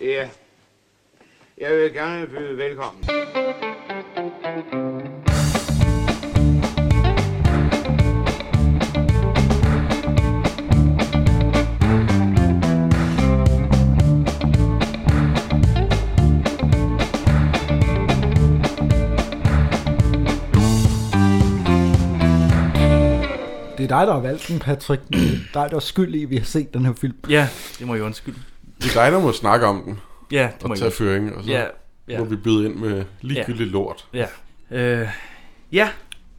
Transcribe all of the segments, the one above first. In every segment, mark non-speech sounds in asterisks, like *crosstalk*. Ja. Jeg vil gerne byde velkommen. Det er dig, der har valgt den, Patrick. Det er dig, der er skyld i, at vi har set den her film. Ja, det må jeg undskylde. Det er dig, der må snakke om den Ja, det må og jeg tage undskylde. føring, og så Ja, ja. må ja, vi byde ind med ligegyldigt ja. lort. ja. Øh, ja,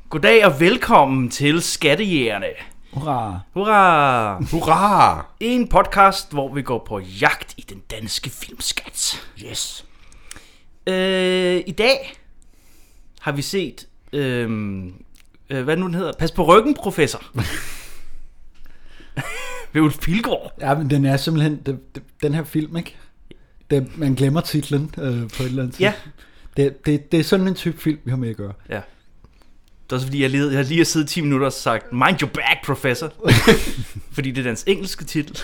goddag og velkommen til Skattejægerne. Hurra. Hurra! Hurra! En podcast, hvor vi går på jagt i den danske filmskat. Yes. Øh, I dag har vi set, øh, øh, hvad nu den hedder? Pas på ryggen, professor. Ved Ulf Pilgaard. Ja, men den er simpelthen, det, det, den her film, ikke? Det, man glemmer titlen øh, på et eller andet Ja. tidspunkt. Det, det, det er sådan en type film, vi har med at gøre. Ja. Det er også fordi, jeg, lige, jeg har lige har siddet 10 minutter og sagt, Mind your back, professor. fordi det er dens engelske titel.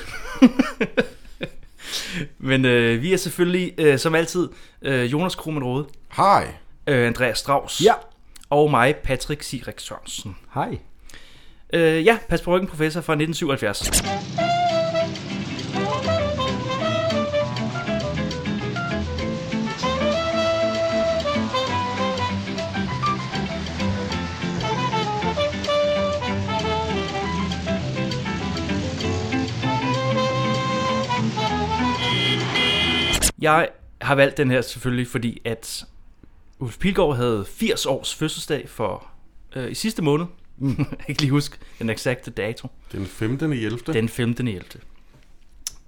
*laughs* Men øh, vi er selvfølgelig, øh, som altid, øh, Jonas Krohmann Rode, Hej! øh, Andreas Strauss Ja. og mig, Patrick Sirik Sørensen. Hej. Øh, ja, Pas på ryggen, professor fra 1977. Jeg har valgt den her selvfølgelig, fordi at Ulf Pilgaard havde 80 års fødselsdag for øh, i sidste måned. Mm. *laughs* jeg kan ikke lige huske den eksakte dato. Den 15. i 11. Den. Den 15. 11.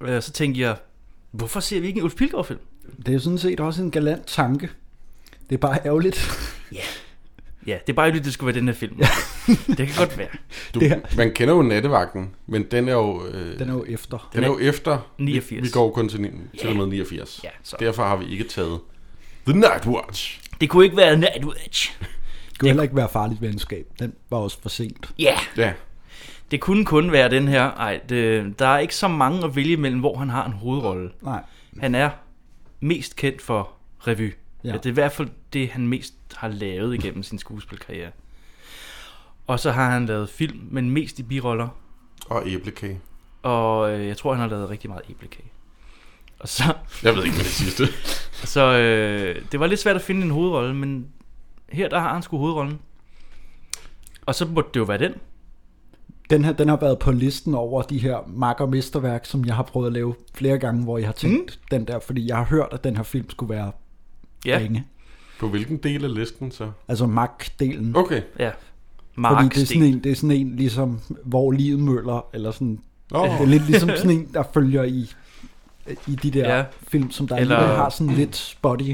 Øh, så tænkte jeg, hvorfor ser vi ikke en Ulf Pilgaard-film? Det er jo sådan set også en galant tanke. Det er bare ærgerligt. Ja, det er bare ærgerligt, det skulle være den her film. *laughs* det kan godt være. Du, Det er- man kender jo nattevagten, men den er jo, øh, Den er jo efter. den er jo efter. 89. Vi, vi går kun til, ni- til og med 89. Ja, så. Derfor har vi ikke taget The Night Watch. Det kunne ikke være Night Witch. Det kunne heller ikke være farligt venskab. Den var også for sent. Ja, yeah. Ja, det kunne kun være den her. Ej, det, der er ikke så mange at vælge mellem, hvor han har en hovedrolle. Nej. Han er mest kendt for revy. Ja. Ja. Det er i hvert fald det, han mest har lavet igennem sin skuespilkarriere. Og så har han lavet film, men mest i biroller. og æblekage. Og øh, jeg tror, han har lavet rigtig meget æblekage. Og så, Jeg ved ikke, hvad det sidste. så øh, det var lidt svært at finde en hovedrolle, men her der har han sgu hovedrollen. Og så burde det jo være den. Den her, den har været på listen over de her mark- og mesterværk, som jeg har prøvet at lave flere gange, hvor jeg har tænkt mm. den der, fordi jeg har hørt, at den her film skulle være Ja, ringe. På hvilken del af listen så? Altså mark-delen. Okay. ja. Fordi Mark det er, sådan en, det er sådan en, ligesom, hvor livet møller, eller sådan, Nå, det er lidt ligesom sådan en, der følger i, i de der Ja. ja. film, som der Eller- eller... har sådan lidt spotty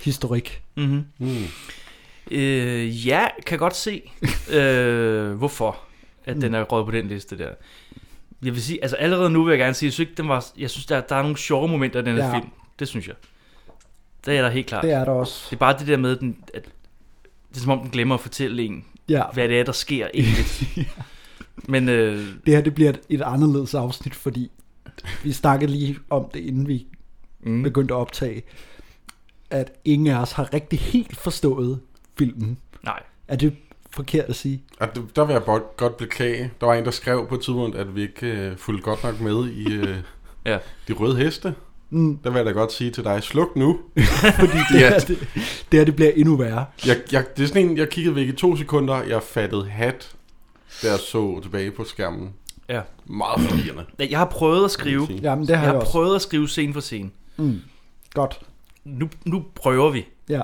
historik. Mm-hmm. Mm. Øh, ja, kan godt *laughs* se, øh, hvorfor at Mm. den er røget på den liste der. Jeg vil sige, altså allerede nu vil jeg gerne sige, jeg synes, ikke, den var, jeg synes der, der er nogle sjove momenter i den her Ja. ja. film. Det synes jeg. Det er der helt klart. Det Det er, er der også. det er bare det der med, den, at det er som om, den glemmer at fortælle en, Ja. hvad det er, der sker *laughs* egentlig. Men øh, Det her, det bliver et, et anderledes afsnit, fordi vi snakkede lige om det, inden vi mm, begyndte at optage, at ingen af os har rigtig helt forstået filmen. nej. Er det forkert at sige? Og det- der vil jeg godt, godt beklage. Der var en, der skrev på et tidspunkt, at vi ikke øh, fulgte godt nok med i øh, *laughs* Ja. de røde heste. Mm, Der vil jeg da godt sige til dig, sluk nu. *laughs* fordi det, Ja. her, det, det her, det bliver endnu værre. Mm. Jeg, jeg, det er sådan en, jeg kiggede væk i to sekunder, jeg fattede hat, da jeg så tilbage på skærmen. Ja. Meget forvirrende. Jeg har prøvet at vil skrive. jeg sige. Jamen, det har Jeg jeg, har også. prøvet at skrive scene for scene. Mm, godt. Nu, nu prøver vi. Ja.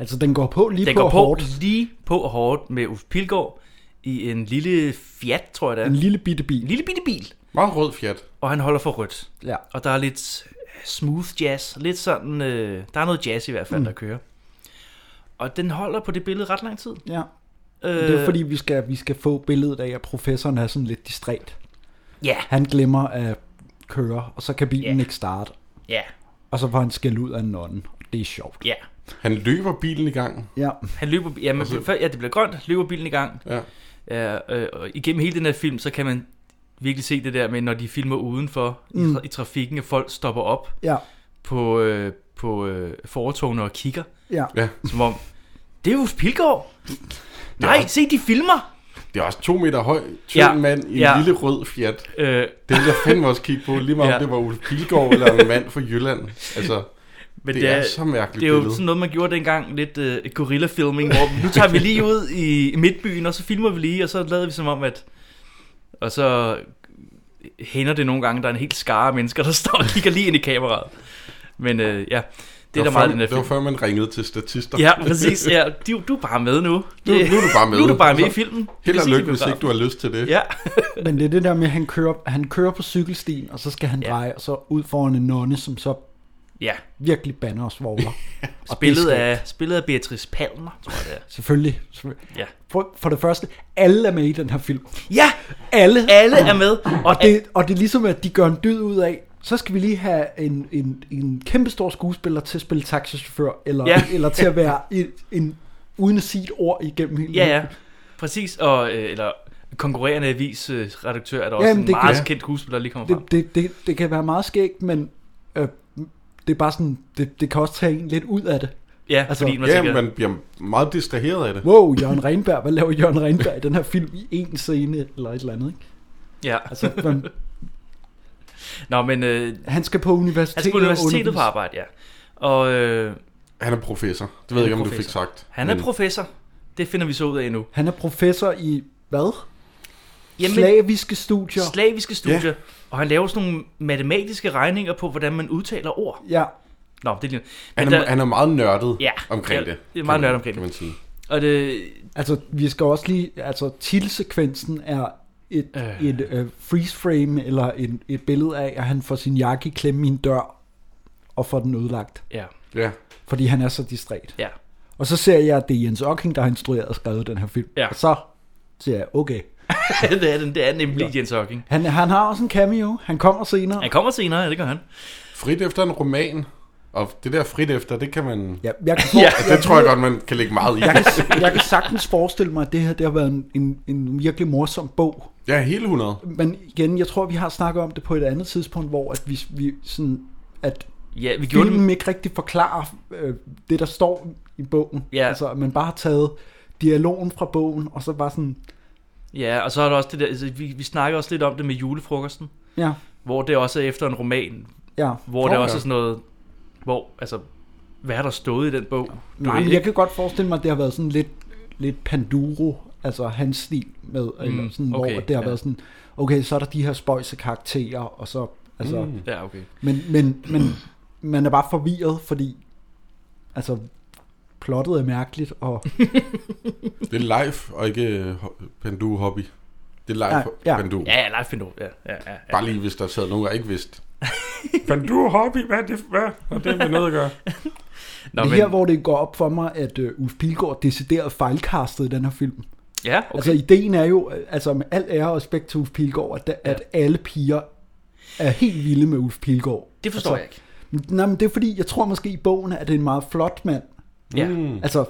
Altså, den går på lige Den på går på hårdt. lige på og hårdt med Uffe Pilgaard i en lille Fiat, tror jeg det er. En lille bitte bil. En lille bitte bil. Meget rød fjat. Og han holder for rødt. Ja. Og der er lidt smooth jazz. Lidt sådan, øh, der er noget jazz i hvert fald, mm. der kører. Og den holder på det billede ret lang tid. ja. Øh, Det er fordi, vi skal, vi skal få billedet af, at professoren er sådan lidt distræt. Øh, Ja, Han glemmer at køre, og så kan bilen Ja. ikke starte. ja, Og så får han skæld ud af en nonne. Det er sjovt. ja. Han løber bilen i gang. Ja, Han løber, ja, men, altså, ja, det bliver grønt, løber bilen i gang. Ja. Ja, øh, og igennem hele den her film, så kan man virkelig se det der med, når de filmer udenfor mm. i, Mm. tra- i trafikken, at folk stopper op Ja, på, øh, på øh, fortogene og kigger, ja. Ja, som om, det er Ulf Pilgaard. Nej, Ja. se, de filmer. det er også to meter høj, tynd Ja. ja. mand i en Ja. ja. lille rød Fiat. Øh, Det ville jeg fandme også kigge på, lige meget ja. Ja. om det var Ulf Pilgaard eller en mand fra Jylland. Altså, men det, det er, så mærkeligt det er jo billede. sådan noget, man gjorde dengang, lidt øh, gorilla-filming, hvor nu tager vi lige ud i midtbyen, og så filmer vi lige, og så lader vi som om, at... Og så hænder det nogle gange, der er en helt skare af mennesker, der står og kigger lige ind i kameraet. Men øh, ja, det er der var meget i før, den her Det var film. før, man ringede til statister. Ja, præcis. Ja, du, du er bare med nu. Nu, nu er du bare med. Nu er du bare med i Altså, filmen. Held og Præcis, lykke, i hvis ikke biografen. du har lyst til det. Ja, Men det er det der med, at han kører, han kører på cykelstien, og så skal han dreje, og så ud foran en nonne, som så ja. virkelig bander og *laughs* svogler. Og Spillet det skal- af, spillet af Beatrice Palmer, tror jeg det er. Selvfølgelig. selvfølgelig. Ja. For, for det første, alle er med i den her film. Ja, Alle. alle er med. Og det, og det er ligesom, at de gør en dyd ud af, så skal vi lige have en, en, en kæmpe stor skuespiller til at spille taxichauffør, eller, Ja. ja. eller til at være en, en, uden at sige et ord igennem hele Ja, filmen. ja. Præcis. Og, øh, eller konkurrerende avis øh, redaktør er der også Jamen, en det meget kan- kendt skuespiller, der lige kommer frem. Det, det, det, det kan være meget skægt, men øh, det er bare sådan, det, det kan også tage en lidt ud af det. Ja, altså, altså, fordi man Ja, tænker, man bliver meget distraheret af det. Wow, Jørgen Renberg, hvad laver Jørgen Renberg i den her film i en scene, eller et eller andet, ikke? ja. Altså, man, Nå, men øh, han skal på universitetet. han skal på og universitetet på undervise. arbejde, ja. Og øh, Han er professor. Det Han ved jeg er ikke, om du professor. fik sagt. han er Men professor. Det finder vi så ud af endnu. Han er professor i hvad? Jamen, Slaviske studier. slaviske studier. Ja. Og han laver sådan nogle matematiske regninger på, hvordan man udtaler ord. ja, Nå, det er lige... han, Men er, der- han er meget nørdet Ja, omkring ja, det. det er meget kan man- nørdet omkring kan det. man sige. Og det, altså vi skal også lige, altså titelsekvensen er et, Øh. øh. et øh, freeze frame, eller en, et billede af, at han får sin jakke i klemme i en dør, og får den ødelagt, ja, Ja. fordi han er så distræt. ja. *laughs* Og så ser jeg, at det er Jens Ocking, der har instrueret og skrevet den her film. Ja. Og så siger jeg, okay. det, er, den, det er nemlig Jens Hocking. Han, han har også en cameo, han kommer senere. Han kommer senere, ja, det gør han. Frit efter en roman. Og det der frit efter, det kan man... Ja, jeg, kan for, Ja. ja. Altså, det tror jeg godt, man kan lægge meget i. jeg, kan, jeg kan sagtens forestille mig, at det her det har været en, en, en virkelig morsom bog. Ja, hele 100. Men igen, jeg tror, vi har snakket om det på et andet tidspunkt, hvor at vi, vi sådan, at Ja, vi gjorde det. filmen ikke rigtig forklarer øh, det, der står i bogen. Ja. Altså, at man bare har taget dialogen fra bogen, og så bare sådan, Ja, og så er der også det der... Altså, vi, vi snakker også lidt om det med julefrokosten. ja, Hvor det også er efter en roman, ja. Hvor okay. det Okay. også er sådan noget, hvor, altså, hvad har der stået i den bog? Du Nej, ved men ikke. jeg kan godt forestille mig, at det har været sådan lidt, lidt panduro, altså hans stil med, mm, eller sådan, okay, okay, hvor det har ja. ja. været sådan, okay, så er der de her spøjse karakterer, og så, altså, mm. Ja, okay. men, men, men man er bare forvirret, fordi, altså, plottet er mærkeligt, og Det er live, og ikke øh, Pandu Hobby. Det er live Nej, ja. Pandu. Ja, ja, Leif Findor. Ja, ja, ja, ja. Bare lige, hvis der sad nogen, jeg ikke vidste. Pandu Hobby, hvad er det? Hvad? Og det med noget at gøre. *laughs* Nå, det men, er her, hvor det går op for mig, at uh, Ulf Pilgaard decideret fejlkastet i den her film. Okay. Ja, okay. Altså, ideen er jo, øh, altså med al ære og respekt til Ulf Pilgaard, at, at alle piger er helt vilde med Ulf Pilgaard. det altså, forstår jeg ikke. Men, nej, men det er fordi, jeg tror måske i bogen, at det er en meget flot mand. Ja. Mm. Altså,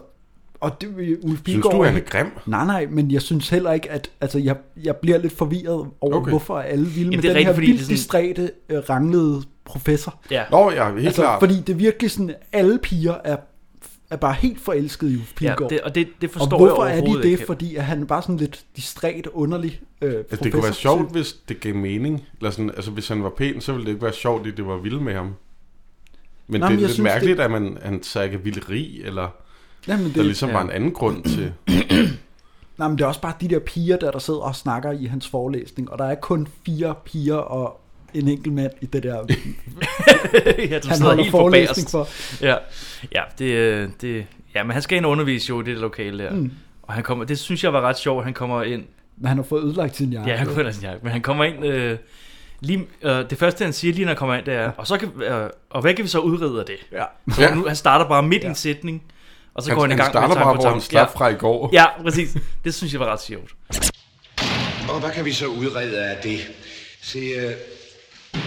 og det vil Ulf Synes du, Pilgaard... han er grim? Nej, nej, men jeg synes heller ikke, at... Altså, jeg, jeg bliver lidt forvirret over, Okay. okay. hvorfor er alle vilde med det den er rigtigt, her fordi det vildt er sådan- distræte, øh, ranglede professor. Ja. Nå ja, helt Altså, klart. fordi det er virkelig sådan, alle piger er, er bare helt forelskede i Ulf ja Pilgaard. det, og det, det og forstår hvorfor jeg er de overhovedet det? ikke. Fordi at han er bare sådan lidt distræt, underlig øh, Altså, professor. det kunne være sjovt, hvis det gav mening. Eller sådan, altså, hvis han var pæn, så ville det ikke være sjovt, at det var vild med ham. Men Nå, men Nå, det er jeg lidt synes, mærkeligt, det... at man, han så ikke er vilderi, eller Jamen, det, der ligesom ja. ja. var en anden grund til... nej, men det er også bare de der piger, der, der sidder og snakker i hans forelæsning, og der er kun fire piger og en enkelt mand i *laughs* det der, *laughs* ja, du han sidder holder helt på forelæsning bagerst. for. Ja, ja det, øh, det, ja, men han skal ind og undervise jo i det lokale der. Mm. Og han kommer, det synes jeg var ret sjovt, han kommer ind. Hmm. Men han har fået ødelagt sin jakke. Ja, han kunne ellers jakke, men han kommer ind... Øh, lige, øh, det første, han siger lige, når han kommer ind, det er, og, så kan, øh, og hvad kan vi så udrede af det? ja. Så ja. Ja. nu, han starter bare midt ja. i en sætning, og så Han, går han, i han gang starter med bare, hvor han ja. slap fra i går. ja, præcis. Det synes jeg var ret sjovt. Og hvad kan vi så udrede af det? Se, øh,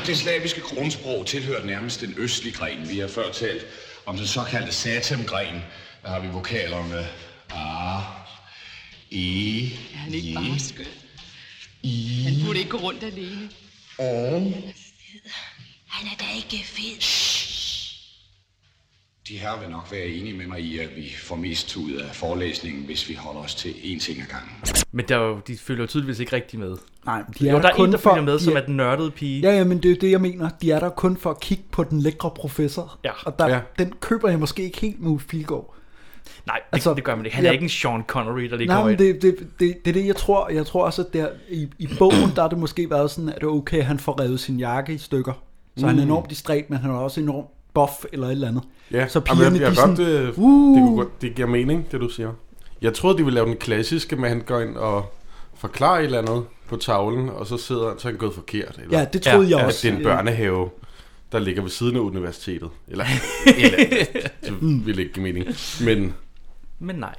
det slaviske grundsprog tilhører nærmest den østlige gren. Vi har før talt om den såkaldte satemgren. Der har vi vokalerne a, e, Han er ikke je. bare skøn. Han burde ikke gå rundt alene. Han er da ikke fed. De her vil nok være enige med mig i, at vi får mest ud af forelæsningen, hvis vi holder os til én ting ad gangen. Men der er jo, de følger jo tydeligvis ikke rigtig med. Nej, de er Jo, der er kun en, der for, følger med, de som er- er den nørdede pige. Ja, ja, men det er jo det, jeg mener. De er der kun for at kigge på den lækre professor. Ja. Og der, Ja. ja. den køber jeg måske ikke helt med Ulf Pilgaard. Nej, det, altså, Altså, det gør man ikke. Han er ja. ikke en Sean Connery, der lige Nej, kommer men ind. det, det, det, det er det, jeg tror. Jeg tror også, at der, i, i bogen, der har det måske været sådan, at det er okay, at han får revet sin jakke i stykker. Så mm. han er enormt distræt, men han er også enormt buff eller et eller andet. Ja, så jamen, pigerne, jeg, jeg de sådan, godt, sådan, det, "Uh." det, kunne godt, det giver mening, det du siger. Jeg troede, de ville lave den klassiske, med at han går ind og forklarer et eller andet på tavlen, og så sidder han, så er han gået forkert. Eller, ja, det troede Ja, jeg at også. det er en børnehave, der ligger ved siden af universitetet. *laughs* Eller, eller andet. det ville ikke give mening. Men, Men nej.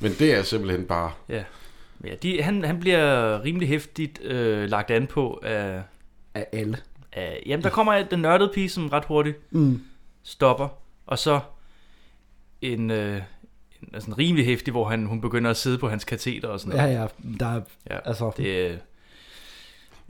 men det er simpelthen bare... Ja. ja de, han, han bliver rimelig hæftigt øh, lagt an på af, Af alle. af... Jamen, der kommer den nørdede pige, som ret hurtigt Mm. stopper. Og så en... Øh, en altså en rimelig hæftig, hvor han, hun begynder at sidde på hans kateter og sådan Ja, noget. ja, der er, ja, altså, det, Det, øh,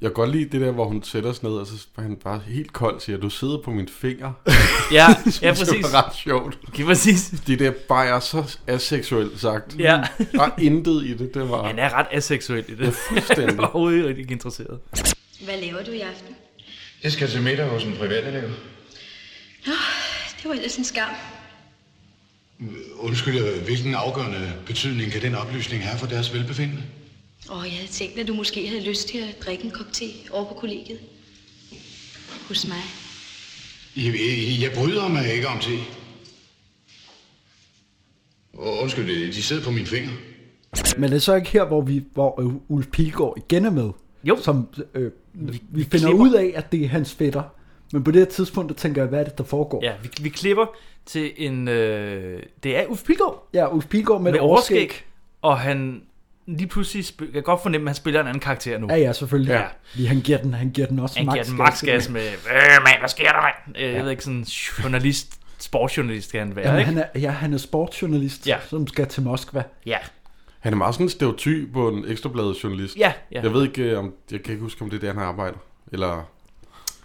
Jeg kan godt lide det der, hvor hun sætter sig ned, og så er han bare helt kold siger, du sidder på min *laughs* finger. *laughs* ja, ja, Det præcis. var ret sjovt. Ja, præcis. Det der bare er så aseksuelt sagt. Ja. *laughs* Der er intet i det, det var... Han er ret aseksuel i det. Ja, Han fuldstændig. er *laughs* overhovedet ikke rigtig interesseret. Hvad laver du i aften? Jeg skal til middag hos en privatelev. Nå, det var ellers en skam. Undskyld, øh, hvilken afgørende betydning kan den oplysning have for deres velbefindende? Og jeg havde tænkt, at du måske havde lyst til at drikke en kop te over på kollegiet. Hos mig. Jeg, jeg, jeg bryder mig ikke om te. Og Undskyld, øh, de sidder på mine fingre. men det er så ikke her, hvor, vi, hvor øh, Ulf Pilgaard igen er med. Jo. Som øh, vi, vi finder klipper. ud af, at det er hans fætter. Men på det her tidspunkt, der tænker jeg, hvad er det, der foregår? Ja, vi, vi klipper til en... Øh, det er Uffe Pilgaard ja Ulf Pilgaard med, med et overskæg. overskæg, og han lige pludselig... Sp- jeg kan godt fornemme, at han spiller en anden karakter nu. Ja, ja, selvfølgelig. Ja. Ja. Lige, han, giver den, han giver den også Han max giver den gas. max gas med, øh, mand, hvad sker der, mand? Øh, Jeg ved ikke, sådan journalist, sportsjournalist skal han være, Jamen, ikke? han er, ja, han er sportsjournalist, Ja. ja. som skal til Moskva. Ja, Han er meget sådan en stereotyp på en ekstrabladet journalist. ja, ja. Jeg ved ikke, øh, om, jeg kan ikke huske, om det er der, han arbejder. Eller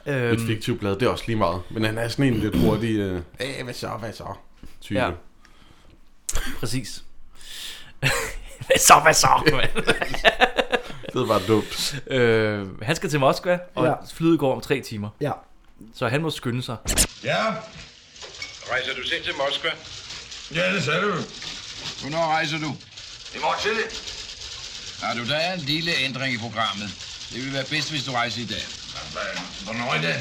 øhm. et øhm, fiktivt blad, det er også lige meget. Men han er sådan en lidt hurtig, øh, "Æh, hvad så, hvad så, type. Ja. præcis. *laughs* Hvad så, hvad så? mand? Det var dumt. *laughs* øh, han skal til Moskva, og Ja. flyet går om tre timer, Ja. så han må skynde sig. Ja, Rejser du selv til Moskva? ja det sagde du. Hvornår rejser du? I morgen tidlig. Har du, der er en lille ændring i programmet. Det vil være bedst, hvis du rejser i dag. Hvornår i dag?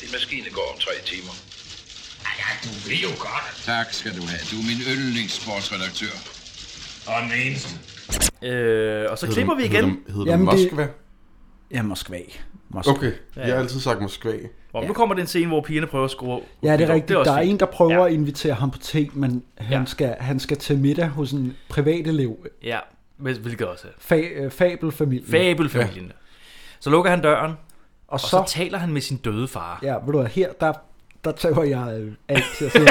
Din maskine går om tre timer. Ej, ej, du ved jo godt. Tak skal du have. Du er min yndlingssportsredaktør. Og den eneste. Øh, og så klipper vi igen. Hedder, hedder Jamen, Jamen, det- Moskva? Ja, Moskva. Moskva. Okay, ja. jeg har altid sagt Moskva. Og nu kommer den scene, hvor pigerne prøver at skrue. Ja, det er rigtigt. også der er fint. en, der prøver Ja. ja. at invitere ham på te, men han, Ja. ja. skal, han skal til middag hos en privatelev, Ja, men- hvilket også er fa, øh, fabelfamilie. fabelfamilien. Ja. Så lukker han døren, og og så, så, og så taler han med sin døde far. ja, ved du hvad, her, der, der tager jeg øh, alt til at sige,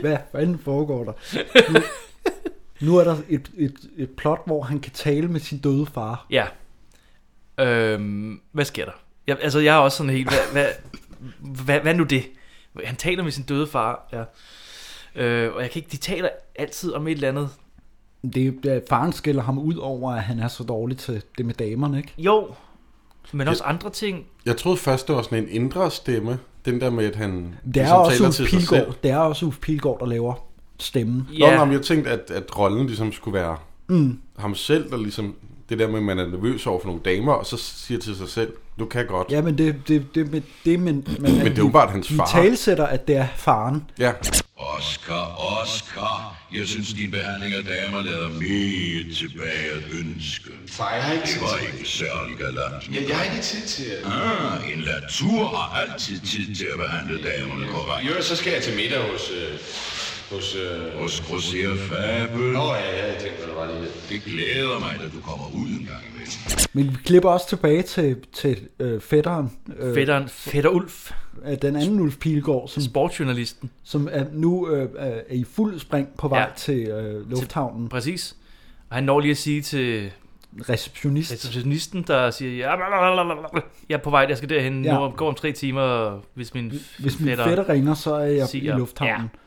hvad fanden foregår der? Nu, nu er der et, et, et plot, hvor han kan tale med sin døde far. Ja. Øhm, hvad sker der? Jeg, altså, jeg er også sådan helt... Hvad, hvad, hvad, hvad nu det? Han taler med sin døde far. Ja. Øh, og jeg kan ikke... De taler altid om et eller andet. Det, det, faren skiller ham ud over, at han er så dårlig til det med damerne, ikke? Jo, men også andre ting. Jeg troede først, det var sådan en indre stemme. Den der med, at han ligesom Det er, også Ulf Pilgaard, det er også Ulf Pilgaard, der laver stemmen. Ja. Nå, Ja, nej, men jeg tænkte, at, at rollen ligesom skulle være mm. ham selv, der ligesom... Det der med, at man er nervøs over for nogle damer, og så siger til sig selv, du kan godt. Ja. Ja, men det, det, det, men, det men, men, men det er åbenbart hans far. Vi talsætter, at det er faren. ja. Oscar, Oscar. Jeg synes, din behandling af damer lader mere tilbage at ønske. Fejl har ikke Det var ikke særlig galant. Ja, jeg har ikke tid til at... Ah, en natur har altid tid til at behandle damerne korrekt. Jo, så skal jeg til middag hos... Øh, hos... Øh... Hos grosserer Fabel. ja, jeg tænkte, det var lige Det glæder mig, at du kommer ud en gang imellem. Men vi klipper også tilbage til, til øh, fætteren. Øh, fætteren, fætter Ulf, af den anden Ulf Pilgaard, som, sportsjournalisten. som er nu øh, er er i fuld spring på vej Ja. ja. til øh, lufthavnen. Præcis. Og han når lige at sige til receptionist. receptionisten, der siger, ja, blablabla, jeg er på vej, jeg skal derhen, Ja. ja. nu går om tre timer, hvis min, Hvis min fætter ringer, så er jeg siger, i lufthavnen. Ja.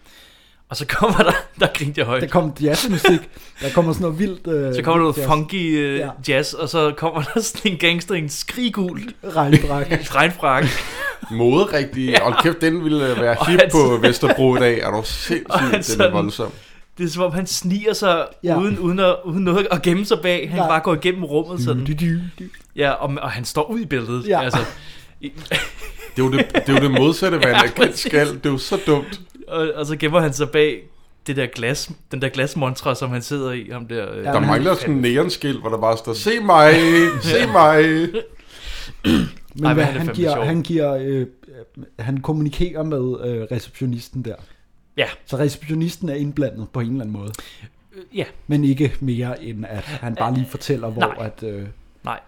Og så kommer der, der grinte jeg højt. Der kommer jazzmusik. der kommer sådan noget vildt... Øh, Så kommer der noget jazz. funky øh, Ja. ja. jazz, og så kommer *laughs* der sådan en gangster i en skrigul *laughs* Regnbræk. regnfrak. Mode rigtig. Ja. Og kæft, den ville øh, være Og hip han på sådan- Vesterbro i dag. Er du Og han sindssygt, den er sådan- voldsom. Det er som om, han sniger sig Ja. ja. uden, uden, at, uden noget at gemme sig bag. Han Nej. Nej. bare går igennem rummet Mm. sådan. Du-du-du. Ja, og, og han står ud i billedet. Ja. Ja. Altså, i- *laughs* Det er jo det, det, er jo det modsatte, hvad Ja, en agent præcis. skal. Det er jo så dumt. og, og så gemmer han sig bag det der glas, den der glasmontre, som han sidder i. Ham der, øh, Der men- mangler sådan en neonskilt, hvor der bare står, se mig, se mig. Men Ej, Ej, hvor hvad, er det han, fandme giver, sjovt. han giver... Øh, øh, han kommunikerer med øh, receptionisten der. Ja. Så receptionisten er indblandet på en eller anden måde. ja, Men ikke mere end at han bare lige fortæller, hvor Nej. at... Øh, nej.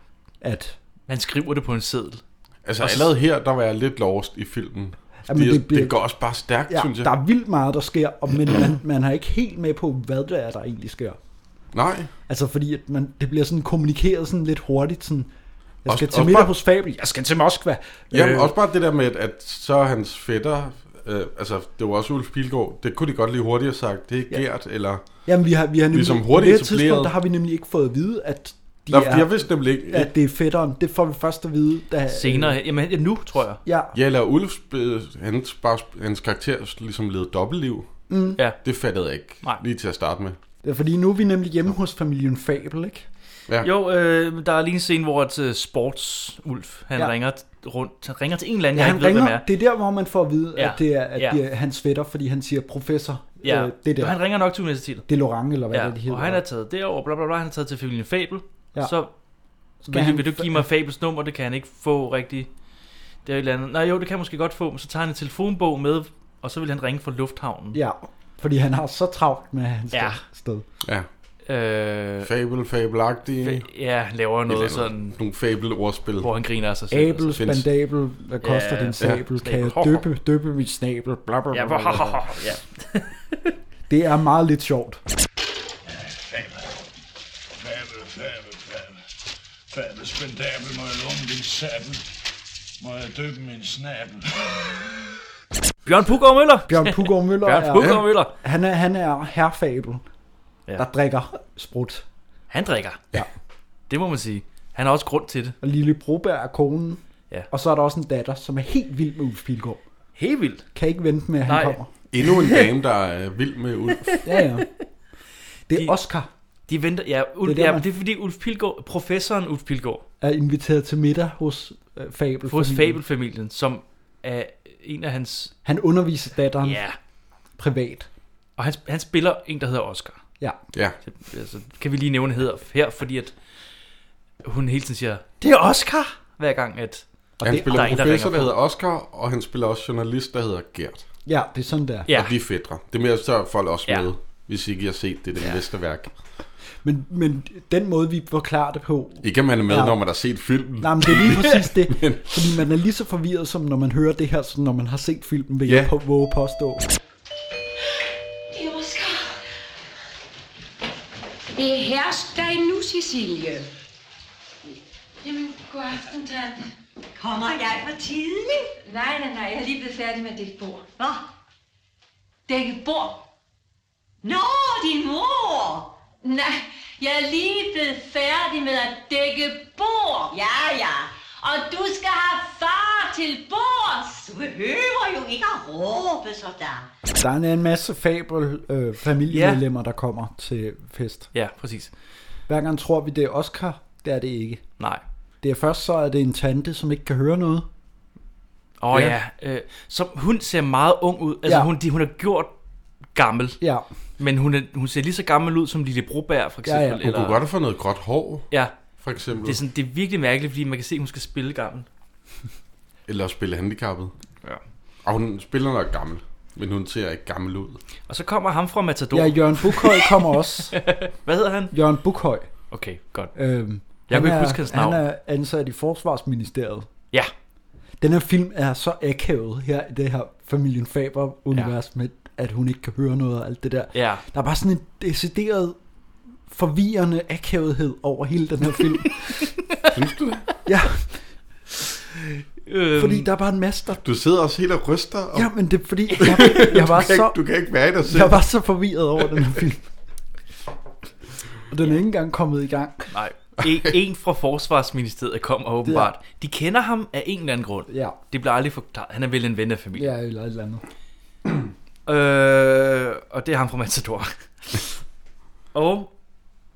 at Han skriver det på en seddel. Altså allerede her, der var jeg lidt lost i filmen. Jamen, det, det det, bliver- går også bare stærkt, ja, synes jeg. der er vildt meget, der sker, og, men man, man har ikke helt med på, hvad det er, der egentlig sker. Nej. Altså fordi, at man, det bliver sådan kommunikeret sådan lidt hurtigt, sådan, jeg Også- skal til også middag bare- hos Fabel, jeg skal til Moskva. Jamen, Øh, øh. også bare det der med, at, at så er hans fætter, øh, altså det var også Ulf Pilgaard, det kunne de godt lige hurtigere sagt, det er ja. Gert, eller... Jamen, vi har, vi har nemlig, Ligesom hurtigt på det her tidspunkt, etableret. der har vi nemlig ikke fået at vide, at de Ja. er, Jeg vidste nemlig ikke, at det er fætteren. Det får vi først at vide, da... Senere, Øh. jamen ja, nu tror jeg. Ja, Ja, eller Ulfs, øh, hans, bare, hans karakter ligesom levede dobbeltliv. Mm. Ja. Det fattede jeg ikke Nej. lige til at starte med. det er fordi nu er vi nemlig hjemme hos familien Fabel, ikke? Ja. Jo, øh, men der er lige en scene, hvor et uh, sportsulf, han Ja. ja. ringer t- rundt. Han ringer til en eller anden, Ja, ja, jeg han ikke ved, hvem er. ringer, det er der, hvor man får at vide, Ja, at det er, at ja. det er hans fætter, fordi han siger, professor, Ja, øh, det der, han ringer nok til universitetet. det er Lorang, eller hvad Ja, det, er, de hedder. og han er taget derover, bla bla bla, han er taget til familien Fabel. Ja. Ja. Så Skal vil, han- han, vil du give mig Fabels nummer, det kan han ikke få rigtigt. Det er et eller andet. Nej, jo, det kan han måske godt få, men så tager han en telefonbog med, og så vil han ringe fra lufthavnen. Ja, fordi han har så travlt med hans Ja. sted. Ja. øh, Fabel, fabelagtige. fa- ja han laver noget eller andet. sådan, Nogle fabelordspil. hvor han griner af sig selv. Abel, findes- spandabel, hvad koster Ja, din sabel? ja, kan jeg snabel. døbe, døbe mit snabel? Bla, bla, Ja, bla, bla, bla. ja. Det er meget lidt sjovt. Fabel, fabel, fabel. Fabel, spendabel, må jeg låne din sabel? Må jeg døbe min snabel? Bjørn Puggaard Møller! Bjørn Puggaard Møller Bjørn er, Puggaard Møller! han er, han er herrfabel, Ja. der drikker sprut. Han drikker. Ja. Det må man sige. Han har også grund til det. Og Lille Broberg er konen. Ja. Og så er der også en datter, som er helt vild med Ulf Pilgaard. Helt vildt. Kan ikke vente med, at han Nej. kommer. Endnu en dame, der er vild med Ulf. *laughs* Ja, ja. Det er De- Oscar, De venter, ja, Ulf, der, det, er ja, man- men det er fordi Ulf Pilgaard, professoren Ulf Pilgaard, er inviteret til middag hos øh, Fabel. hos Fabelfamilien, som er en af hans, Han underviser datteren ja, privat. og han, han spiller en, der hedder Oscar. Ja. Ja. Det- Altså, kan vi lige nævne hedder her, fordi at hun hele tiden siger, det er Oscar, hver gang at, Og han det- spiller der er en, der professor, ringer der, på. hedder Oscar, og han spiller også journalist, der hedder Gert. Ja, det er sådan der. ja, Og de er fædre. Det er mere så er folk også Ja. med, hvis ikke I har set det, det ja. mesterværk. Men, men den måde, vi forklarer det på... Ikke at man er med, Ja. ja. når man har set filmen. Nej, men det er *laughs* lige præcis det. Fordi man er lige så forvirret, som når man hører det her, som når man har set filmen, vil jeg Ja. på, våge påstå. Det er Oscar. Det hersker dig nu, Cecilie. Jamen, god aften, tante. Kommer jeg for tidlig? Nej, nej, nej, jeg er lige blevet færdig med det bord. Hvad? Dække bord. Nå, din mor! Nej, jeg er lige blevet færdig med at dække bord. Ja, ja. Og du skal have far til bords. Du behøver jo ikke at råbe sådan. Der er en, en masse fabel øh, familiemedlemmer, der kommer til fest. ja, præcis. Hver gang tror vi, det er Oscar. Det er det ikke. Nej. Det er først så, at det er en tante, som ikke kan høre noget. Åh oh, Ja. ja, ja. Øh, så hun ser meget ung ud, altså Ja. ja. hun, de, hun er gjort gammel, Ja, men hun, er, hun ser lige så gammel ud som Lille Broberg, for Ja, ja. eksempel. Hun kunne godt have fået noget gråt hår, Ja, for eksempel. det er, sådan, det er virkelig mærkeligt, fordi man kan se, at hun skal spille gammel. Eller at spille handicappet. Ja. Og hun spiller nok gammel, men hun ser ikke gammel ud. Og så kommer ham fra Matador. ja Jørgen Bukhøj kommer *laughs* også. Hvad hedder han? Jørgen Bukhøj. Okay, godt. Øhm, Jeg han kan ikke er- huske hans Han navn. er ansat i Forsvarsministeriet. Ja, Den her film er så akavet her i det her familien Faber-univers ja. med, at hun ikke kan høre noget og alt det der. ja. Der er bare sådan en decideret forvirrende akavethed over hele den her film. *laughs* Synes du det? ja, Øhm, fordi der er bare en masse, der... Du sidder også helt og ryster, og Ja, men det er *laughs* fordi, jeg, jeg var du, kan så... ikke, du kan ikke være i dig selv. Jeg var så forvirret over den her film. Og *laughs* den er ikke engang kommet i gang. Nej. En, en fra Forsvarsministeriet kommer åbenbart. De kender ham af en eller anden grund. Ja, Det bliver aldrig forklaret. Han er vel en ven af familien. ja eller et eller andet. Øh, og det er ham fra *laughs* Matador. og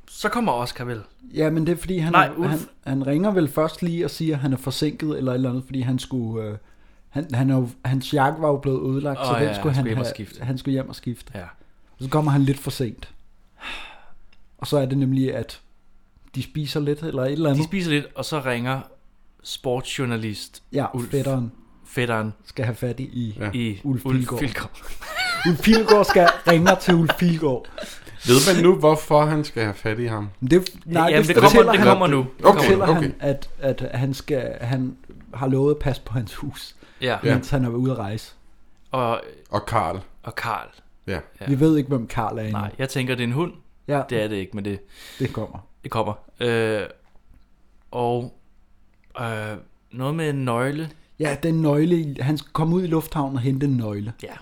så kommer Oscar vel. Ja, men det er fordi, han, Nej, Nej, Ulf. han, han ringer vel først lige og siger, at han er forsinket eller et eller andet, fordi han skulle... Øh, han, han er jo, hans jakke var jo blevet ødelagt, Åh så den ja, skulle han, han skulle hjem og have- skifte. han skulle hjem og skifte. Ja. Og så kommer han lidt for sent. Og så er det nemlig, at de spiser lidt eller et eller De andet. spiser lidt, og så ringer sportsjournalist ja, Ulf. fætteren fætteren skal have fat i. Ja. i Ulf Ulf, Pilgaard. Ulf Ulf Pilgaard skal ringer til Ulf Pilgaard. Ved man nu, hvorfor han skal have fat i ham? Men det, nej, Jamen, det, fortæller kommer, det han- kommer nu. Det Okay. kommer nu. fortæller okay. han, at, at han, skal, han har lovet at passe på hans hus, Ja. ja. ja. mens han er ude at rejse. Og, Og Karl. og Karl. Ja. Ja. Ja. Vi ved ikke, hvem Karl er endnu. Nej, jeg tænker, det er en hund. Ja, Det er det ikke, men det, det kommer. det kommer. Øh, og øh, noget med en nøgle. Ja, den nøgle, i- han skal komme ud i lufthavnen og hente en nøgle. Ja.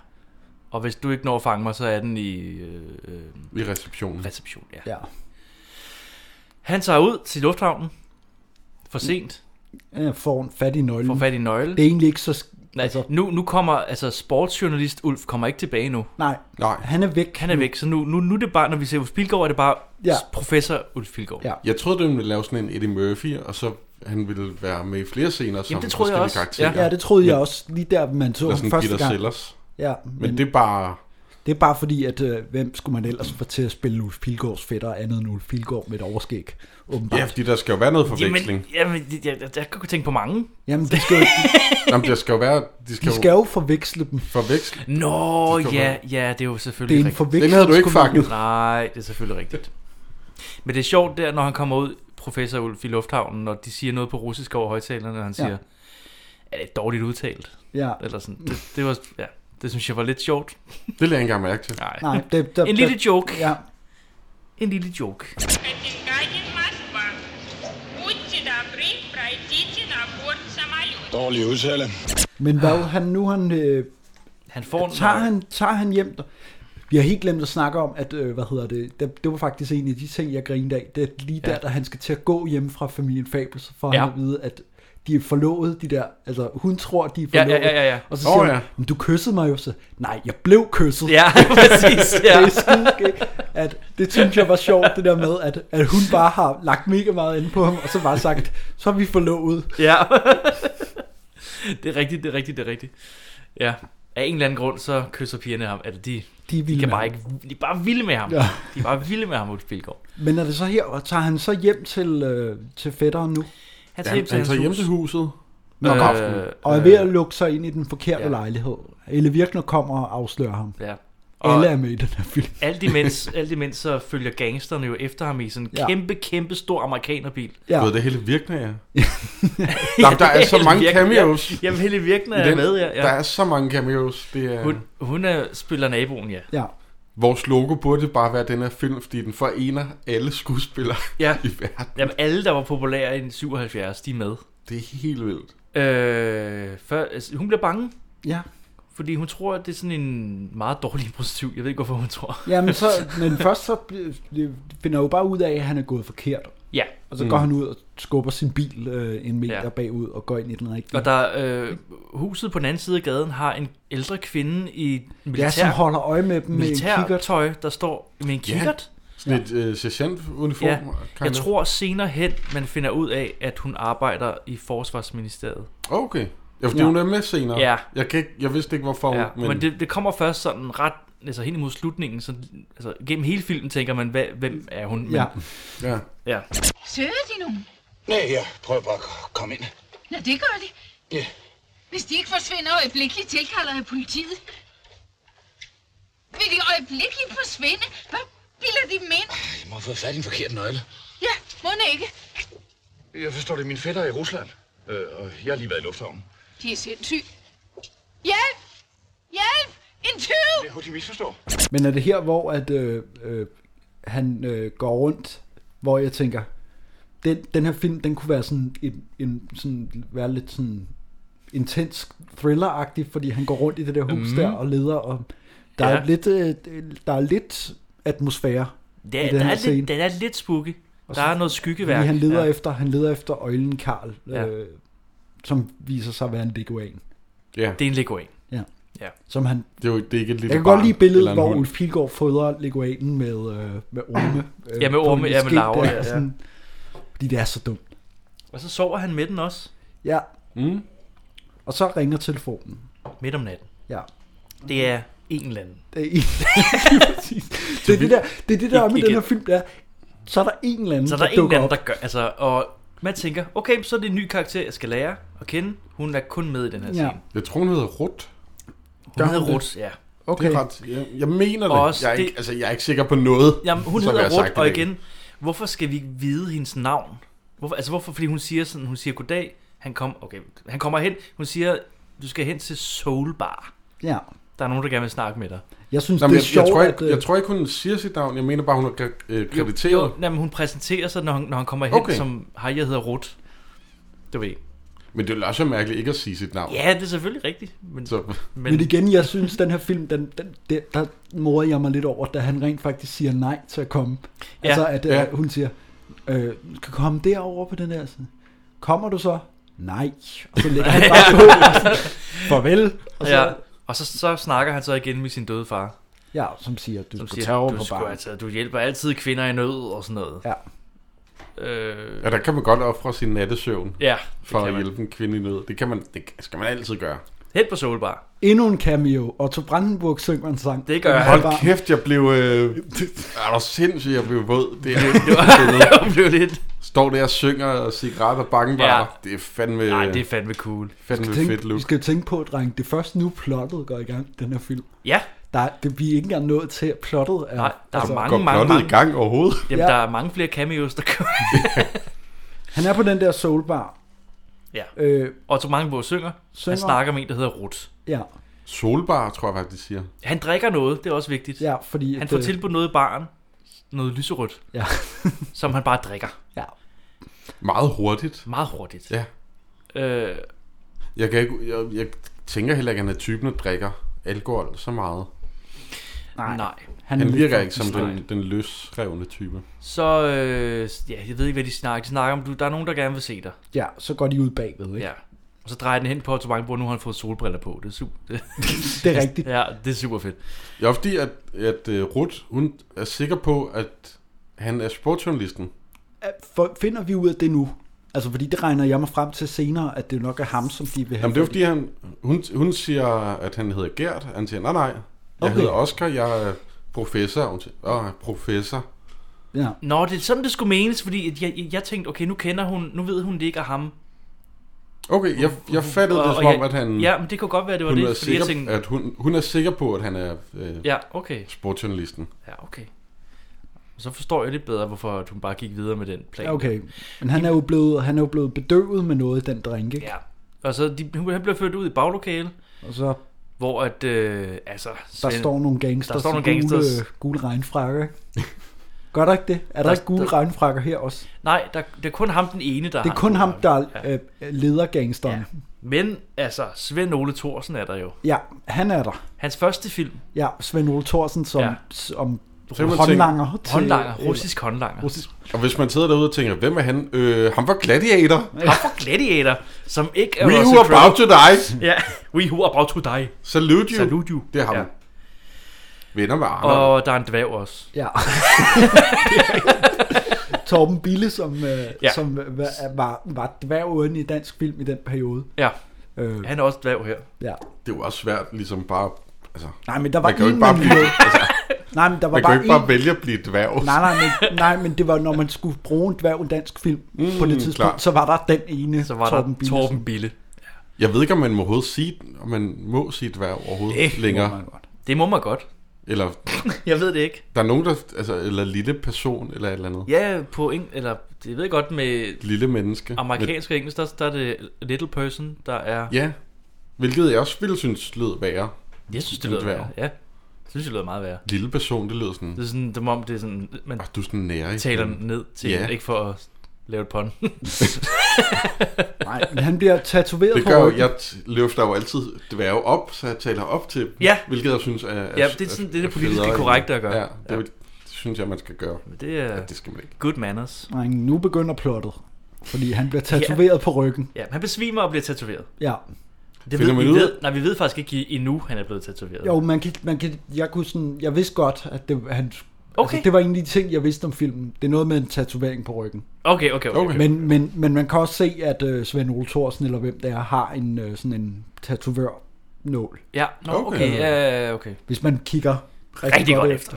Og hvis du ikke når at fange mig, så er den i øh, øh, I receptionen. reception. Ja. Ja, Han tager ud til lufthavnen. For sent. han får en fat i nøglen. Får fat i en nøgle. Det er egentlig ikke så... sk- Nej, Altså, nu, nu kommer, altså sportsjournalist Ulf kommer ikke tilbage nu. nej, Nej. han er væk. Han er væk, så nu, nu, nu er det bare, når vi ser Ulf Pilgaard, er det bare Ja. ja. professor Ulf Pilgaard. Ja. Jeg troede, den ville lave sådan en Eddie Murphy, og så han ville være med i flere scener som det troede jeg forskellige også. karakterer. Ja, det troede jeg også, lige der man så Eller ham sådan første Peter gang. Sellers. Ja, Men, men det er bare... det er bare fordi, at øh, hvem skulle man ellers få til at spille Ulf Pilgaards fætter andet end Ulf Pilgaard med et overskæg, åbenbart. Ja, fordi der skal jo være noget forveksling. Jamen, jamen jeg, jeg, jeg, jeg kan tænke på mange. Jamen, de skal, jo, Jamen, der skal *laughs* jo være... De skal, de skal jo forveksle dem. forveksle. Nå, Det skal ja, ja, det er jo Det er selvfølgelig en rigtigt. Den forveksling. havde du ikke fanget. Nej, det er selvfølgelig rigtigt. Men det er sjovt der, når han kommer ud, professor Ulf i lufthavnen, når de siger noget på russisk over højtalerne, og han Ja. siger, ja. er det dårligt udtalt? Ja, Eller sådan. Det, det var, ja, det synes jeg var lidt sjovt. Det lader jeg ikke engang mærke til. Nej. nej, det, der, En lille joke. Ja, En lille joke. Копенгаген, Москва. Будьте добры, пройдите на борт самолета. Dårlig udtale. men Ah. hvad, han, nu han, øh, Han får en tager, han, tager han hjem, der, vi har helt glemt at snakke om, at, øh, hvad hedder det, det, det var faktisk en af de ting, jeg grinede af, det er lige der, Ja. da han skal til at gå hjem fra familien Fabel, så får Ja. han at vide, at de er forlovet, de der, altså hun tror, de er Ja, ja, forlovet, ja, ja, ja. og så Åh, siger oh, ja. ja. men du kyssede mig jo, så, nej, jeg blev kysset, Ja, *laughs* præcis. Ja. Det er skideskægt, at det synes jeg var sjovt, det der med, at, at hun bare har lagt mega meget inde på ham, og så bare sagt, så er vi forlovet. ja. det er rigtigt, det er rigtigt, det er rigtigt. Ja. Af en eller anden grund, så kysser pigerne ham. Eller de, De er vilde de kan med bare ham. ikke, de er bare vilde med ham. Ja. De er bare vilde med ham, Ulf Pilgaard. Men er det så her, og tager han så hjem til, øh, til fætteren nu, Han Ja, tager hjem til han hans tager hjem hus. til huset. Nå, øh, og er ved at lukke sig ind i den forkerte ja. ja. lejlighed? Eller Virkner kommer og afslører ham. Ja. Og Alle Og er med i den her *laughs* film. alt imens, alt imens så følger gangsterne jo efter ham i sådan en Ja. kæmpe, kæmpe stor amerikanerbil. Ja. Ja. Du ved, det hele virkner, *laughs* ja. Jamen, der er så Helle mange Virkner- cameos. Ja, Jamen, Helle Virkner I er med, ja. Der ja. er så mange cameos. Det er... Hun, hun er, spiller naboen, ja. Ja. Vores logo burde bare være den her film, fordi den forener alle skuespillere Ja. *laughs* i verden. Jamen, alle, der var populære i 77, de er med. Det er helt vildt. Øh, før, altså, hun bliver bange, Ja. fordi hun tror, at det er sådan en meget dårlig prostitut. Jeg ved ikke, hvorfor hun tror. ja, men, så, men først så bl- finder jo bare ud af, at han er gået forkert. Ja, Og så mm. går han ud og skubber sin bil øh, en meter Ja. ja. bagud og går ind i den rigtige. og der, øh, huset på den anden side af gaden har en ældre kvinde i militær, ja, som holder øje med dem øh, med en kikkert. militærtøj, der står med en kikkert. Sådan ja. et øh, sergeantuniform. Ja, kind jeg of. tror senere hen, man finder ud af, at hun arbejder i Forsvarsministeriet. Okay. Ja, fordi Ja. ja. hun er med senere. Ja. Jeg, kan ikke, jeg vidste ikke, hvorfor Ja, hun... men det, det kommer først sådan ret, altså helt imod slutningen, så, altså gennem hele filmen tænker man, hvad, hvem er hun? Men, Ja. Ja. ja. Søger de nogen? Nej, ja, prøv bare at komme ind. Nå, det gør de. Ja. Hvis de ikke forsvinder øjeblikkeligt, tilkalder jeg politiet. Vil de øjeblikkeligt forsvinde? Hvad bilder de dem ind? Jeg må have fået fat i en forkert nøgle. Ja, må ikke. Jeg forstår det, er min fætter er i Rusland. Øh, og jeg har lige været i lufthavnen. De er sindssyge. Hjælp! Hjælp! En tyv! Jeg håber, de misforstår. Men er det her, hvor at, øh, øh, han øh, går rundt, hvor jeg tænker, den, den her film, den kunne være sådan en, en sådan, være lidt sådan intens thriller-agtig, fordi han går rundt i det der hus Mhm. mm. der og leder, og der, ja. Ja. er lidt, øh, der er lidt atmosfære Det i er, den der her er scene. lidt, den er lidt spooky. Og Der så- er noget Fordi skyggeværk. han leder, ja. ja. efter, han leder efter øjlen Karl, Ja. øh, som viser sig at være en leguan. Ja. Det er en leguan. Ja. Ja. Som han, Det er jo det er ikke et lille jeg kan godt barn lide billedet, eller en hvor hund. Ulf Pilgaard fodrer leguanen med, øh, med orme. Øh, Ja, med på orme, en ja, med ske larver, der, ja, ja. Sådan, fordi det er så dumt. Og så sover han med den også, Ja. Mm. Og så ringer telefonen. midt om natten. Ja. Det er en eller anden. Det er, *laughs* lige præcis. det, er det, der, det er det der I- med igen. den her film, der så er der en eller anden, Så der er der en eller dukker anden, op. der gør, altså, og man tænker, okay, så er det en ny karakter, jeg skal lære at kende. Hun er kun med i den her Ja. scene. Hun Jeg tror, hun hedder Rut. Gør hedder det? Ruth, ja. Okay. Det er ret, jeg, jeg mener det. Også jeg, er det- ikke, altså, jeg er ikke sikker på noget. Jamen, hun som jeg hedder har sagt Ruth, i og dag. igen, hvorfor skal vi ikke vide hendes navn? Hvorfor, altså, hvorfor? Fordi hun siger sådan, hun siger goddag, han, kom, okay, han kommer hen, hun siger, du skal hen til Soul Bar. Ja. Der er nogen, der gerne vil snakke med dig. Jeg synes, Nå, det men er jeg, sjovt, jeg, tror at... ikke, øh, jeg tror ikke, hun siger sit navn. Jeg mener bare, hun er kre- øh, krediteret. Jo, jamen, hun præsenterer sig, når han, når han kommer hen, okay. Okay. som, hej, jeg hedder Ruth. Du ved. Men det er også mærkeligt ikke at sige sit navn. Ja, det er selvfølgelig rigtigt. Men, Så, Men igen, jeg synes, den her film, den, den, der, der morer jeg mig lidt over, da han rent faktisk siger nej til at komme. Ja. Ja. Altså, at Ja. ja. hun siger, øh, "Du kan komme derover på den der side. Kommer du så? Nej. Og så lægger *laughs* han bare på. og sådan, Farvel. Og så, ja. ja. Og så, så snakker han så igen med sin døde far, ja, som siger, du som skal tage siger, over du, på skulle, barnet. altså, du hjælper altid kvinder i nød og sådan noget. Ja. Øh, ja, der kan man godt ofre sin nattesøvn ja, for det at kan man. hjælpe en kvinde i nød. Det, kan man, det skal man altid gøre. Hen på Soul Bar. Endnu en cameo. Otto Brandenburg synger en sang. Det gør han. Hold bare- kæft, jeg blev... Øh, er du sindssygt, jeg blev våd. Det er *laughs* Det blev lidt. Står der og synger og cigaretter og bangebarer. Ja. Det er fandme, Nej, det er fandme cool. fandme Tænk, fedt, vi Luke. skal tænke på, dreng, det er først nu plottet går i gang, den her film. Ja, Der, er- det, vi er ikke engang nået til, at plottet er... Altså, Nej, der er mange- Går mange, plottet i mange- gang overhovedet? jamen, Ja. der er mange flere cameos, der *laughs* kommer. Han er på den der soulbar. Ja. Øh, Otto Mangenborg synger. Han Synger. snakker med en, der hedder Ruth. ja. Solbar, tror jeg faktisk, de siger. Han drikker noget, det er også vigtigt. Ja, fordi... Han at, får øh, tilbudt noget i baren. Noget lyserødt, Ja. *laughs* som han bare drikker ja. Meget hurtigt. meget hurtigt. Ja. Øh, Jeg, kan ikke, jeg, jeg tænker heller ikke, at han er typen, der drikker alkohol så meget. nej. nej. Han er virker lidt- ikke som den, den løsrevne type. Så, øh, ja, jeg ved ikke, hvad de snakker. De snakker om, du, der er nogen, der gerne vil se dig. Ja, så går de ud bagved, ikke? Ja. Og så drejer den hen på Otto Mangenborg, nu har han fået solbriller på. Det er super. *laughs* Det er rigtigt. ja, det er super fedt. Ja, fordi at, at uh, Ruth, hun er sikker på, at han er sportsjournalisten. For, finder vi ud af det nu? Altså, fordi det regner jeg mig frem til senere, at det nok er ham, som de vil have. Jamen det er fordi, han, hun, hun siger, at han hedder Gert. Han siger, nej nej, jeg Okay. hedder Oscar, jeg er professor. Hun siger, åh, professor. Ja, Nå, det er sådan, det skulle menes, fordi at jeg, jeg, jeg tænkte, okay, nu kender hun, nu ved hun, det ikke er ham. Okay, jeg, jeg fattede det som jeg- om, at han, Ja, men det kunne godt være, det var hun, det, er fordi jeg sikker, tænkte... at hun, hun er sikker på, at han er øh, Ja, okay. sportsjournalisten. Ja, okay. Så forstår jeg lidt bedre, hvorfor at hun bare gik videre med den plan. ja, okay. Men han er jo blevet, han er jo blevet bedøvet med noget, den drink, ikke? Ja. Og så de, hun- han bliver ført ud i baglokale, Og så hvor at, øh, altså... der Svend- står nogle gangsters der står nogle i gangsters. Gule, gule regnfrakker, ikke? Gør der ikke det? Er der, Der- ikke gule der- regnfrakker her også? Nej, der, det er kun ham den ene, der Det har er kun en- ham, der Ja. øh, leder gangsteren. Ja. Men altså, Svend Ole Thorsen er der jo. Ja, han er der. Hans første film, Ja, Svend Ole Thorsen som, Ja. ja. som Så må man håndlanger. Til, øh, håndlanger, russisk håndlanger. russisk. Og hvis man sidder derude og tænker, hvem er han? Øh, han var gladiator. Ham fra Gladiator, som ikke er We Russell who are Crowe. about to *laughs* die. Ja, we who are about to die. Salute you. Salute you. Det er ham. Ja. Ja. Venner med Arnold. Og... Og der er en dværg også. Ja. *laughs* Torben Bille, som, øh, Ja. ja. som øh, var, var, var dværgen i dansk film i den periode. Ja, Øh, han er også dværg her. ja. Det er jo også svært ligesom bare... Altså, Nej, men der var Man kan jo en, ikke bare man blive- altså, ville- Nej, men der var man kan jo bare, ikke bare en... vælge at blive dværg. Nej, nej, men, nej, men det var, når man skulle bruge en dværg i en dansk film mm, på det tidspunkt, klar. så var der den ene, Så var Torben der Bille. Bille, Torben Bille. Jeg ved ikke, om man må overhovedet sige, om man må sige dværg overhovedet Det det længere. som- Godt. Det må man godt. Eller *laughs* Jeg ved det ikke. der er nogen, der... Altså, eller lille person, eller et eller andet. Ja, på eng eller det ved jeg godt med Lille menneske. amerikansk og engelsk, der, der er det little person, der er... Men- Ja. Hvilket jeg også ville synes lød værre. Jeg synes, det En lyder dværg. værre. Ja. synes, det lyder meget værre. Lille person, det lyder sådan... Det er sådan, som om det er sådan, man Ah, du er sådan nære, ikke? taler ned til, Ja. ja. ikke for at lave et pun. *laughs* Nej, men han bliver tatoveret Det på gør jo, ryggen. jeg t- løfter jo altid dværge op, så jeg taler op til dem, Ja. hvilket jeg synes er, er Ja, det er sådan- det er det politisk federe, korrekte at egentlig. gøre. Ja, det, det synes jeg, man skal gøre. Men det er Ja, det skal man ikke. good manners. Nej, nu begynder plottet. Fordi han bliver tatoveret på ryggen. Ja, han besvimer og bliver tatoveret. Ja. Det Finder ved, man vi ud af- ved, nej, vi ved faktisk ikke endnu, han er blevet tatoveret. Jo, man kan, man kan, jeg, kunne sådan, jeg vidste godt, at det, han, okay. Okay. altså, det var en af de ting, jeg vidste om filmen. Det er noget med en tatovering på ryggen. Okay, okay, okay. Okay. okay. Men, men, men man kan også se, at øh, Svend Ole Thorsen, eller hvem det er, har en, øh, sådan en tatovørnål. Ja, nå, Okay. okay. okay. Ja, ja, okay. Hvis man kigger rigtig, Rigtig godt efter.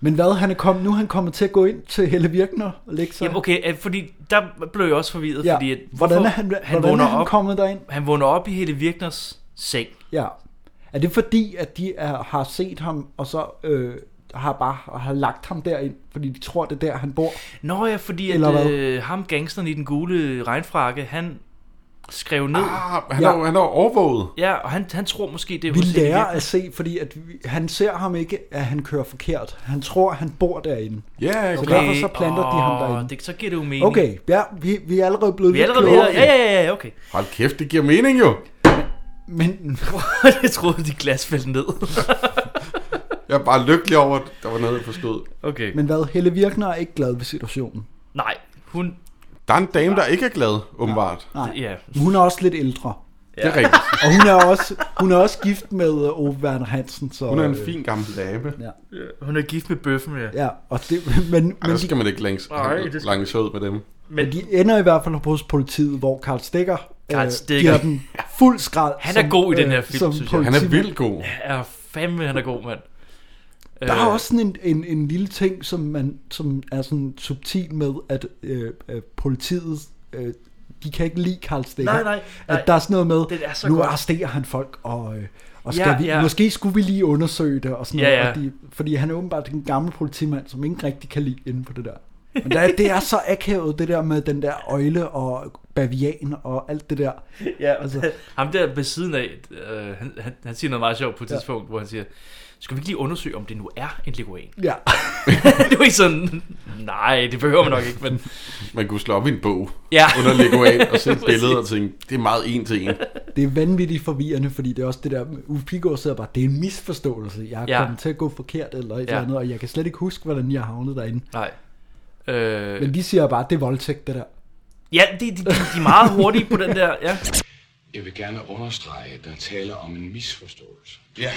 Men hvad, han er kommet, nu er han kommet til at gå ind til Helle Virkner og lægge sig. Jamen, okay, øh, fordi der blev jeg også forvirret, ja. fordi at, hvordan er han, han, hvordan vågner er han op, kommet derind? han vågner op i Helle Virkners seng. Ja. Er det fordi, at de er, har set ham, og så øh, har bare har lagt ham derind, fordi de tror, det er der, han bor? Nå ja, fordi Eller at, hvad? øh, ham gangsteren i den gule regnfrakke, han skrev ned. Ah. Ah, han, Ja. ja. er, jo- han er jo overvåget. Ja, og han, han tror måske, det er Vi hos Helle lærer Virkner. at se, fordi at vi, han ser ham ikke, at han kører forkert. Han tror, han bor derinde. Ja, Så okay. okay. derfor så planter de ham Åh, derinde. Det, så giver det jo mening. Okay, ja, vi, vi er allerede blevet Vi er allerede lidt videre. Ja, ja, ja, ja, okay. *laughs* Hold kæft, det giver mening jo. Men *laughs* jeg troede, de glas faldt ned. *laughs* Jeg er bare lykkelig over, at der var noget, jeg forstod. okay. Men... Men hvad, Helle Virkner er ikke glad ved situationen. Nej, hun... Der er en dame, der ikke er glad, åbenbart. Nej. Ja, Men Hun er også lidt ældre. Ja. Det er rigtigt. Og hun er også, hun er også gift med øh, Ove Werner Hansen. Så, Hun er en øh, fin gammel dame. Ja. hun er gift med bøffen, ja. Ja, og det, men, Ej, men, der de, skal man ikke langs, Nej, det skal- langs ud med dem. men de ender i hvert fald hos politiet, hvor Karl Stikker, Karl øh, Stikker. giver den fuld skrald. Han er god i den her øh, film, som synes jeg. Han er politimand. vildt god. Ja, fandme, han er god, mand. Øh, Der er også sådan en, en, en lille ting, som, man, som er sådan subtil med, at øh, øh, politiet, øh, de kan ikke lide Karl Stikker. Nej, nej, nej. At der er sådan noget med, Det er så nu godt. arresterer han folk, og, øh, og skal Ja, ja, vi, ja. ja. måske skulle vi lige undersøge det, og sådan Ja, noget, ja. Og de, fordi han er åbenbart den gamle politimand, som ingen rigtig kan lide inden for det der. Men der, er- det er så akavet, det der med den der øjle og bavian og alt det der. *laughs* Ja, altså. altså. Ham der ved siden af, øh, han, han, han siger noget meget sjovt på et ja. tidspunkt, hvor han siger, skal vi ikke lige undersøge, om det nu er en leguan? Ja, *laughs* det er jo ikke sådan, nej, det behøver man nok ikke, men... Man kunne slå op i en bog Ja. under Lego af og se et billede og tænke, det er meget en til en. det er vanvittigt forvirrende, fordi det er også det der, Uffe Pigård sidder bare, det er en misforståelse, jeg er Ja. ja. kommet til at gå forkert eller et ja. Ja. eller andet, og jeg kan slet ikke huske, hvordan jeg havnet derinde. Nej. Øh, Men de siger bare, det er voldtægt, det der. ja, de, de, de, de er meget hurtige på den der, ja. Jeg vil gerne understrege, at der taler om en misforståelse. Ja,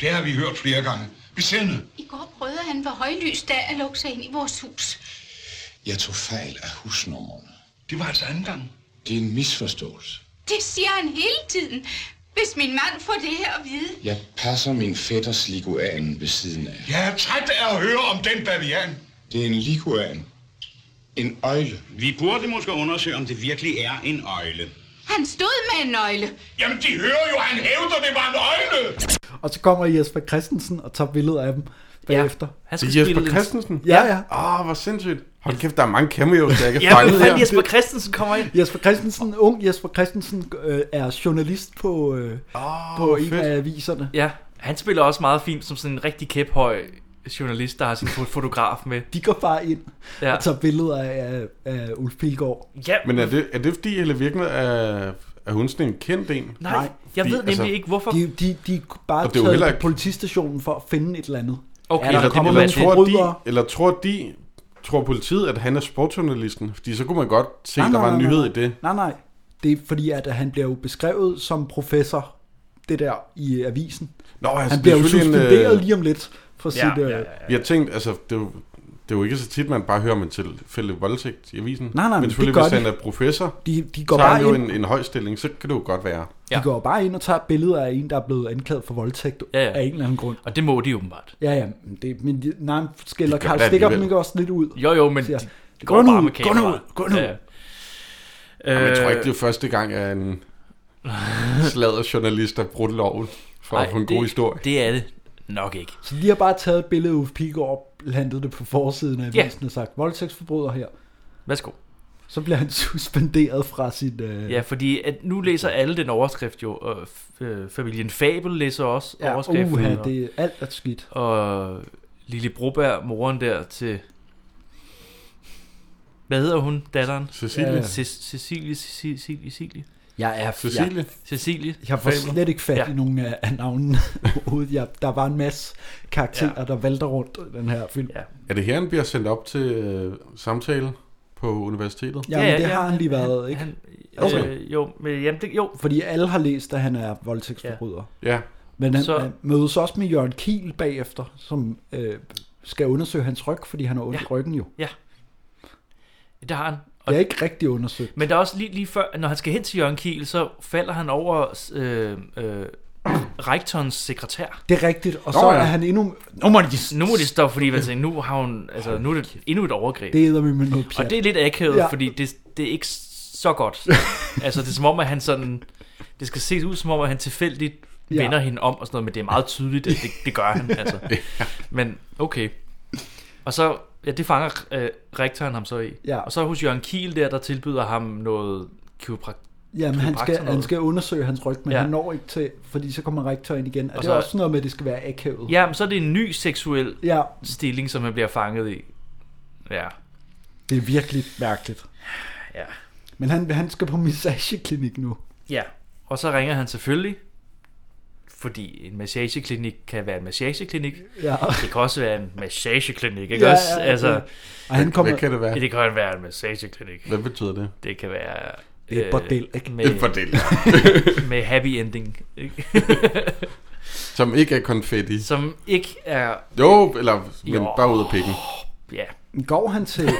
det har vi hørt flere gange. Vi ser ned. I går prøvede han ved højlys dag at lukke sig ind i vores hus. Jeg tog fejl af husnummerne. Det var altså anden gang. Det er en misforståelse. Det siger han hele tiden. Hvis min mand får det her at vide. Jeg passer min fætters liguan ved siden af. Jeg er træt af at høre om den bavian. Det er en liguan. En øjle. Vi burde måske undersøge, om det virkelig er en øjle. Han stod med en nøgle. Jamen, de hører jo, han hævder, det var en øjle. Og så kommer Jesper Christensen og tager billeder af dem bagefter. Han Det skal er Jesper spille en- Christensen? Ja, ja. Åh, oh, hvor sindssygt. Hold kæft, der er mange cameos, jeg ikke Ja, har fanget men fanden, her. Jesper Christensen kommer ind. Jesper Christensen, ung Jesper Christensen, øh, er journalist på, øh, oh, på en fedt. af aviserne. Ja, han spiller også meget fint som sådan en rigtig kæphøj journalist, der har sin fo- fotograf med. De går bare ind Ja. ja. og tager billeder af, af Ulf Pilgaard. Ja, Men er det, er det fordi, Helle Virkner er, er hun sådan en kendt en? nej, Nej, jeg fordi, ved nemlig altså, ikke, hvorfor... De, de, de er bare Og det er jo taget heller ikke... ikke- på politistationen for at finde et eller andet. Okay, Ja, der Eller, kommer eller, nogle tror de, forbrydere. eller tror de, tror politiet, at han er sportsjournalisten? Fordi så kunne man godt se, at der var en nyhed i det. Nej, nej. Det er fordi, at han bliver jo beskrevet som professor, det der i avisen. Nå, altså, Han bliver jo det er selvfølgelig en, øh, suspenderet lige om lidt for sit... ja, øh, ja, ja. Vi har tænkt, altså, det er jo, det er jo ikke så tit, man bare hører om en tilfælde voldtægt i avisen. nej, men men det selvfølgelig, gør hvis de. han er professor, De, de, går så har bare han jo ind, en, en høj stilling, så kan det jo godt være. de går bare ind og tager billeder af en, der er blevet anklaget for voldtægt Ja, ja. af en eller anden grund. Og det må de åbenbart. Ja, ja, men det, men de- nej, men skælder De gør Karl det Stikker dem alligevel. ikke også lidt ud? Jo, jo, men Siger, de, det "Gå går nu, bare med gå kamera. nu, gå nu." Øh... Øh, Jeg tror ikke, det er første gang, at en *laughs* sladder journalist har brudt loven for nej, at få en god historie. Det er det nok ikke. Så de har bare taget et billede af Uffe Pigård, plantet det på forsiden af Ja. avisen og sagt, voldtægtsforbryder her. Værsgo. Så bliver han *laughs* suspenderet fra sin... Øh... Ja, fordi at nu læser alle den overskrift jo, og f- øh, familien Fabel læser også Ja, overskriften. uha, og- det er alt er skidt. Og Lille Broberg, moren der til... Hvad hedder hun, datteren? Cecilie. Øh, Ja. Ce- Cecilie, Cecilie, Cecilie. Jeg er- Cecilie. jeg- Cecilie. Jeg får slet ikke fat ja. i nogen af, af navnene *laughs* overhovedet. Jeg, der var en masse karakterer, ja. der valgte rundt i den her film. Ja, Er det her, han bliver sendt op til øh, samtale på universitetet? Jamen, ja, det har han lige været, ikke? Han, Okay. Øh, jo, men, jamen, det, jo. Fordi alle har læst, at han er voldtægtsforbryder. Ja. Ja. Men han, Så- så... han mødes også med Jørgen Kiel bagefter, som øh, skal undersøge hans ryg, fordi han har ondt i ryggen jo. Ja. Det har han. Det er ikke rigtig undersøgt. Men der er også lige, lige før, når han skal hen til Jørgen Kiel, så falder han over øh, øh, rektorens sekretær. Det er rigtigt, og så Nå, Nå, ja. ja. er han endnu... Nu må de... Nu må de stoppe, *laughs* fordi man tænker, nu har hun, altså, nu er det endnu et overgreb. Det æder med noget pjat. Og det er lidt akavet, ja. Ja. fordi det, det er ikke så *laughs* godt. altså, det er som om, at han sådan... Det skal ses ud som om, at han tilfældigt ja. Ja. vender hende om og sådan noget, men det er meget tydeligt, at det, det gør han. *laughs* Altså. Men okay. Og så, ja, det fanger øh, rektoren ham så i. Ja. Og så hos Jørgen Kiel der, der tilbyder ham noget kiroprak... Jamen, han kiropraktor skal, han skal undersøge hans ryg, men Ja. ja. han når ikke til, fordi så kommer rektor ind igen. Og, Og og det så- er også sådan noget med, at det skal være akavet. Ja, men så er det en ny seksuel ja. stilling, som han bliver fanget i. Ja. Det er virkelig mærkeligt. Ja. Men han, han skal på massageklinik nu. Ja, og så ringer han selvfølgelig, fordi en massageklinik kan være en massageklinik. *laughs* Ja. Det kan også være en massageklinik, ikke Ja, også? ja, altså, ja. Og han kommer- Hvad kan det være? Det kan være en massageklinik. Hvad betyder det? Det kan være... øh, Det er et bordel, ikke? Med, Et bordel. med happy ending, *laughs* ikke? *laughs* Som ikke er konfetti. Som ikke er... Jo, eller men Jo. bare ud af pikken. Ja. Går han til...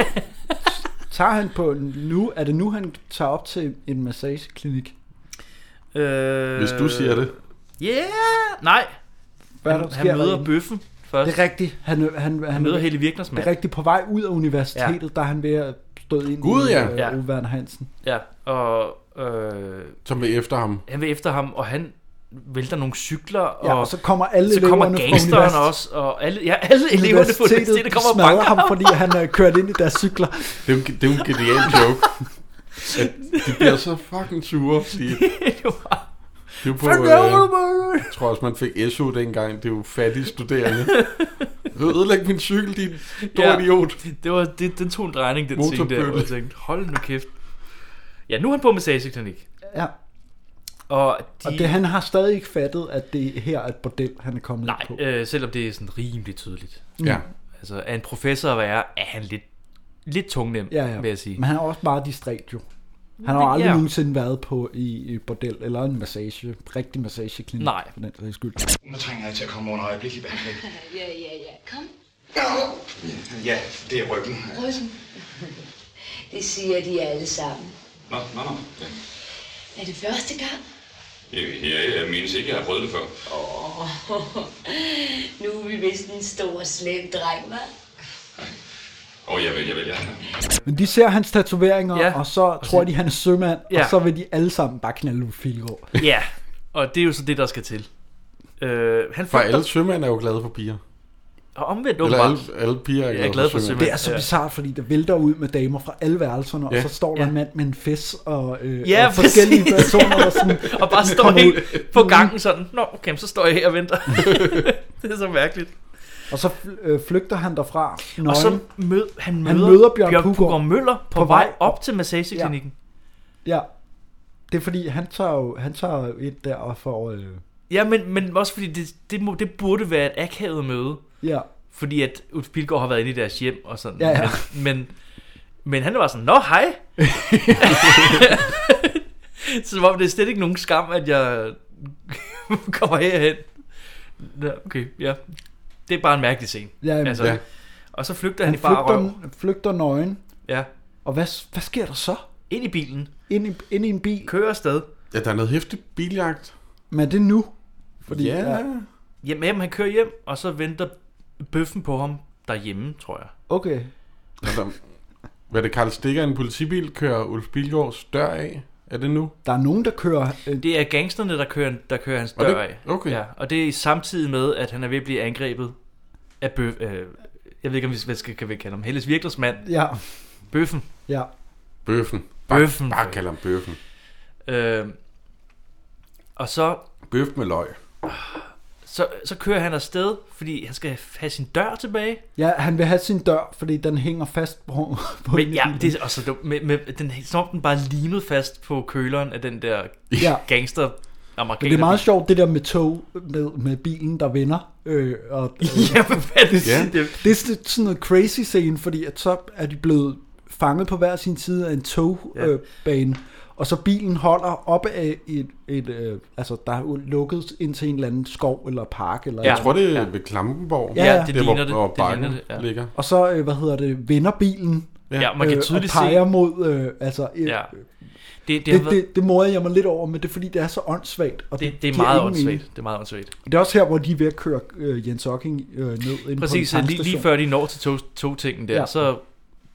*laughs* tager han på... Nu, er det nu, han tager op til en massageklinik? Øh, Hvis du siger det. Ja! Yeah! Nej! Hvad er han, der han sker møder derinde? bøffen først. Det er rigtigt. Han, han, han, Han møder Helle Virkners mand. Det er rigtigt. På vej ud af universitetet, ja. der er han ved at stå ind Gud, i ja. øh, Ja. Ove Werner Hansen. Ja, og... Øh, Som vil efter ham. Han vil efter ham, og han vælter nogle cykler. Og, Ja, og så kommer alle så kommer eleverne fra gangsteren univers- også, og alle, ja, alle eleverne på universitetet kommer og smadrer banker Øh. ham, fordi han er kørt ind i deres cykler. Det er jo, det er jo *laughs* en genial joke. At de bliver så fucking sure. De, det er jo på, Fuck øh, over! jeg tror også, man fik SU dengang. Det er jo fattige studerende. Du ødelægge min cykel, din dår ja. idiot. Det var, det, den tog en drejning, den ting der, hvor jeg Motorbølle. tænkte, hold nu kæft. Ja, nu er han på massageklinik. Ja. Og, de, Og det, han har stadig ikke fattet, at det her er et bordel, han er kommet Nej, ind på. øh, selvom det er sådan rimelig tydeligt. Ja. Altså, er en professor at være, er han lidt, lidt tungnem, Ja, ja. vil jeg sige. Men han er også meget distræt jo. Han har Det- jo aldrig ja. ja. nogensinde været på i i et bordel eller en massage, rigtig massageklinik. Nej. For den sags skyld. Nu trænger jeg til at komme over en øjeblik i *laughs* behandling. Ja, ja, ja. Kom, Ja, det er ryggen. Røsen. *laughs* Det siger de alle sammen. Nå, nå, nå. Ja. Er det første gang? Ja, jeg mindes ikke, jeg har prøvet det før. Åh, *laughs* nu er vi vist en stor, slem dreng, hva'? Åh, oh, jeg vil, jeg vil, jeg Men de ser hans tatoveringer, ja. og så tror de, han er sømand, Ja. og så vil de alle sammen bare knalde Uffe Pilgaard. Ja, og det er jo så det, der skal til. Øh, han flygter- For alle sømænd er jo glade for piger. Og omvendt Eller åbenbart. alle- alle piger er jeg er glade glad for for sømænd. sømænd. Det er så Ja. bizart, fordi der vælter ud med damer fra alle værelserne, og Ja. så står der en mand med en fes og, øh, Ja, og forskellige præcis. personer, der sådan *laughs* og bare står kommer ud. helt på gangen sådan, nå, okay, så står jeg her og *laughs* venter. det er så mærkeligt. Og så øh, flygter han derfra. Nøgen. Og så mød, han møder, han møder Bjørn, Bjørn Puggaard, Puggaard Møller på, på vej op til massageklinikken. Ja. Det er fordi, han tager jo, han tager jo ind der og får... Øh, Ja, ja men, men også fordi det, det, må, det burde være et akavet møde. Ja. Fordi at Ulf Pilgaard har været inde i deres hjem og sådan. Ja, ja. Men, men, men han var sådan, nå *laughs* hej. Som om det er slet ikke nogen skam, at jeg *laughs* kommer herhen. Nå, Okay, ja. Det er bare en mærkelig scene. Ja, jamen, ja. Og så flygter Altså, han, han i bare røv. flygter, flygter nøgen. Ja. Og hvad, hvad sker der så? Ind i bilen. Ind i, ind i en bil. Kører afsted. Ja, der er noget hæftigt biljagt. Men er det nu? Fordi, Ja. Jamen, jamen, han kører hjem, og så venter bøffen på ham derhjemme, tror jeg. Okay. Altså, hvad er det, Karl Stikker en politibil kører Ulf Bilgaards dør af? Er det nu? Der er nogen, der kører... Øh, Det er gangsterne, der kører, der kører hans Og det- dør af. okay. Ja, og det er samtidig med, at han er ved at blive angrebet af bøf... Øh, jeg ved ikke, om vi hvad skal, kan vi kalde ham. Helles Virklers mand. Ja. Bøffen. Ja. Bøffen. Bare, Bøffen. Bare kald ham Bøffen. Øh, og så... Bøf med løg. Så, så kører han afsted, fordi han skal have sin dør tilbage. Ja, han vil have sin dør, fordi den hænger fast på, på Men ja, det er også dumt. Med, med, den, som om den bare er limet fast på køleren af den der Ja. gangster Men amerikaner. det er meget sjovt, det der med tog, med, med bilen, der vender. Øh, og, øh, Ja, men hvad er det? det, Ja. det er sådan sådan noget crazy scene, fordi at så er de blevet fanget på hver sin side af en togbane. Ja. Øh, bane. og så bilen holder op af et, et øh, altså der er jo lukket ind til en eller anden skov eller park. Eller Ja. Jeg et- tror, det er ja. ved Klampenborg. Ja, ja. det der, hvor, ligner det. Hvor Det ligner bakken det, ja. ligger. Og så, øh, hvad hedder det, vender bilen. øh, Ja, Øh, man kan tydeligt og peger se- mod, øh, altså... Øh, Ja. ja. Det, det, Det, det, det, det, det morer jeg mig lidt over, men det er fordi, det er så åndssvagt. Og det, det er giver meget ingen mening. åndssvagt. Det er meget åndssvagt. Det er også her, hvor de er ved at køre øh, Jens Ocking øh, ned ind Præcis, på en lige, lige tankstation. før de når til tog, togtingen der, ja. Ja. så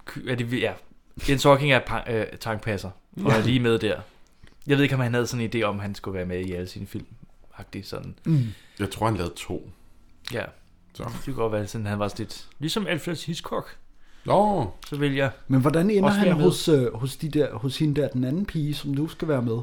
ky- er det, ja, Jens Hocking er pa- øh, tankpasser, og er lige med der. Jeg ved ikke, om han havde sådan en idé om, at han skulle være med i alle sine film. Agtigt sådan. Mm. Jeg tror, han lavede to. Ja. Så. Det kunne godt være, sådan, han var sådan lidt, ligesom Alfred Hitchcock, Nå, så vil jeg Men hvordan ender også han være med. hos, øh, hos, de der, hos hende der, den anden pige, som nu skal være med?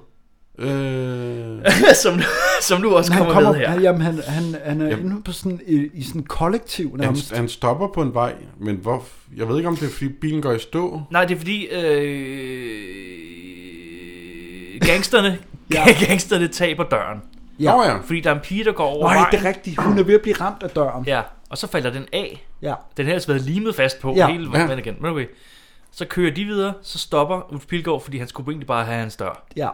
øh, *laughs* som, som nu også Men kommer, med her. han, jamen, han, han, han er Jamen. inde på sådan, i, i sådan en kollektiv han, nærmest. han stopper på en vej, men hvor, jeg ved ikke, om det er, fordi bilen går i stå. Nej, det er fordi, øh, gangsterne, ja. Ja. *laughs* gangsterne taber døren. Ja. Ja. Nå ja, Fordi der er en pige, der går over Nej, vejen. det er rigtigt. Hun er ved at blive ramt af døren. Ja, og så falder den af. Ja. Den har ellers været limet fast på ja. Ja. hele Ja. vejen igen. Men okay. Så kører de videre, så stopper Ulf Pilgaard, fordi han skulle egentlig bare have hans dør. Ja.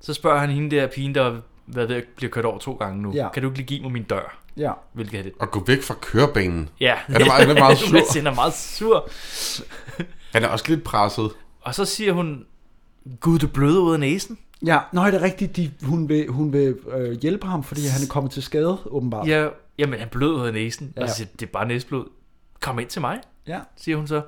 Så spørger han hende der pigen, der har været ved at blive kørt over to gange nu. Ja. Ja. Kan du ikke lige give mig min dør? Ja. Hvilket er det? og gå væk fra kørebanen. Ja, Han er *laughs* meget, han er meget sur. Han er meget sur. Han er også lidt presset. Og så siger hun, Gud, du bløder ud af næsen. Ja, nej, det er rigtigt. De, hun vil, hun vil øh, hjælpe ham, fordi han er kommet til skade, åbenbart. Ja, jamen han blød ud af næsen. Ja. Ja. Og så siger, det er bare næsblod. Kom ind til mig, ja. siger hun så.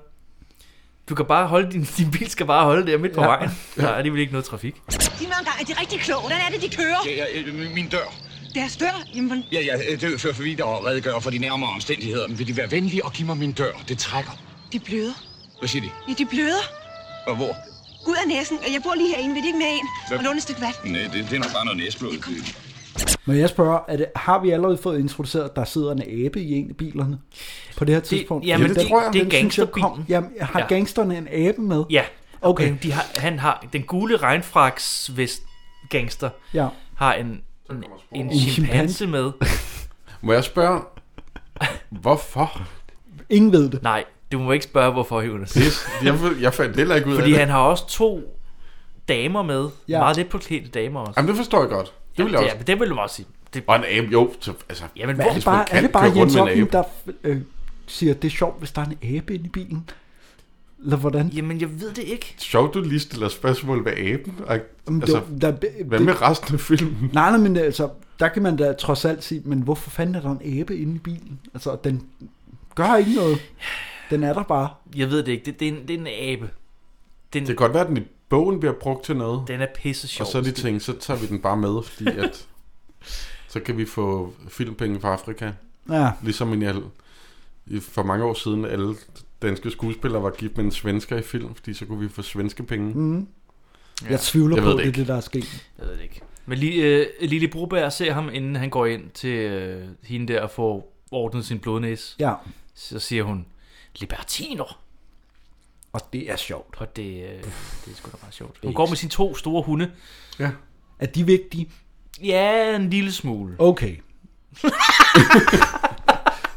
Du kan bare holde, din, din bil skal bare holde der midt på ja. Ja. vejen. Der er alligevel ikke noget trafik. Sig mig engang, er de rigtig kloge? Hvordan er det, de kører? Ja, ja, øh, min dør. Deres dør? Jamen, hvordan- Ja, ja, det er før for vidt og redegøre for de nærmere omstændigheder. Men vil de være venlige og give mig min dør? Det trækker. de bløder. Hvad siger de? Ja, de bløder. Og hvor? Ud af næsen. Jeg bor lige herinde. Vil de ikke med ind? Og låne et stykke vand? Nej, det, det er nok bare noget næsblod. Det- Men jeg spørger, er det, har vi allerede fået introduceret, at der sidder en abe i en af bilerne på det her tidspunkt? jamen, Den- det- det er den synes jeg gangsterbilen. kom- Jamen, har Ja. ja. gangsterne en abe med? Ja. Okay. Men De har, han har den gule regnfraksvest gangster Ja. har en, en, en En chimpanse chimpanse. med. Må jeg spørge, hvorfor? Ingen ved det. Nej, du må ikke spørge hvorfor Jonas. Pis. Jeg, jeg fandt heller ikke ud Fordi af det. han har også to damer med. Ja. Ja. Meget lidt påklædte damer også. Jamen, det forstår jeg godt. Det vil jeg ja, også. men det vil du også sige. Det, Og en abe, jo. Så, altså, jamen, Men er hvor, det bare, man kan er det bare køre rundt Jens med en Ockham, abe. der øh, siger, det er sjovt, hvis der er en abe inde i bilen? Eller hvordan? jamen, jeg ved det ikke. Sjovt, du lige stiller spørgsmål ved aben. Og, Jamen, altså, det, der, det, hvad med resten af filmen? Nej, nej, men altså, der kan man da trods alt sige, men hvorfor fanden er der en abe inde i bilen? Altså, den gør ikke noget. Den er der bare. Jeg ved det ikke. Det, det, er, en, det er en abe. Den, Det kan godt være, at den i bogen bliver brugt til noget. den er pisse sjov. Og så er de tænkt, så tager vi den bare med, fordi *laughs* at, så kan vi få filmpenge fra Afrika. Ja, Ligesom en, al- i- for mange år siden, alle danske skuespillere var gift med en svensker i film, fordi så kunne vi få svenske penge. Mm. jeg tvivler Jeg jeg ved på, det det er ikke. det, der er sket. Jeg ved det ikke. Men lige, øh, Lille Broberg ser ham, inden han går ind til øh, hende der og får ordnet sin blodnæse. Ja, Så siger hun, libertiner. og det er sjovt. Og det, øh, det er sgu da meget sjovt. Hun går med sine to store hunde. Ja. Er de vigtige? Ja, en lille smule. Okay. *laughs*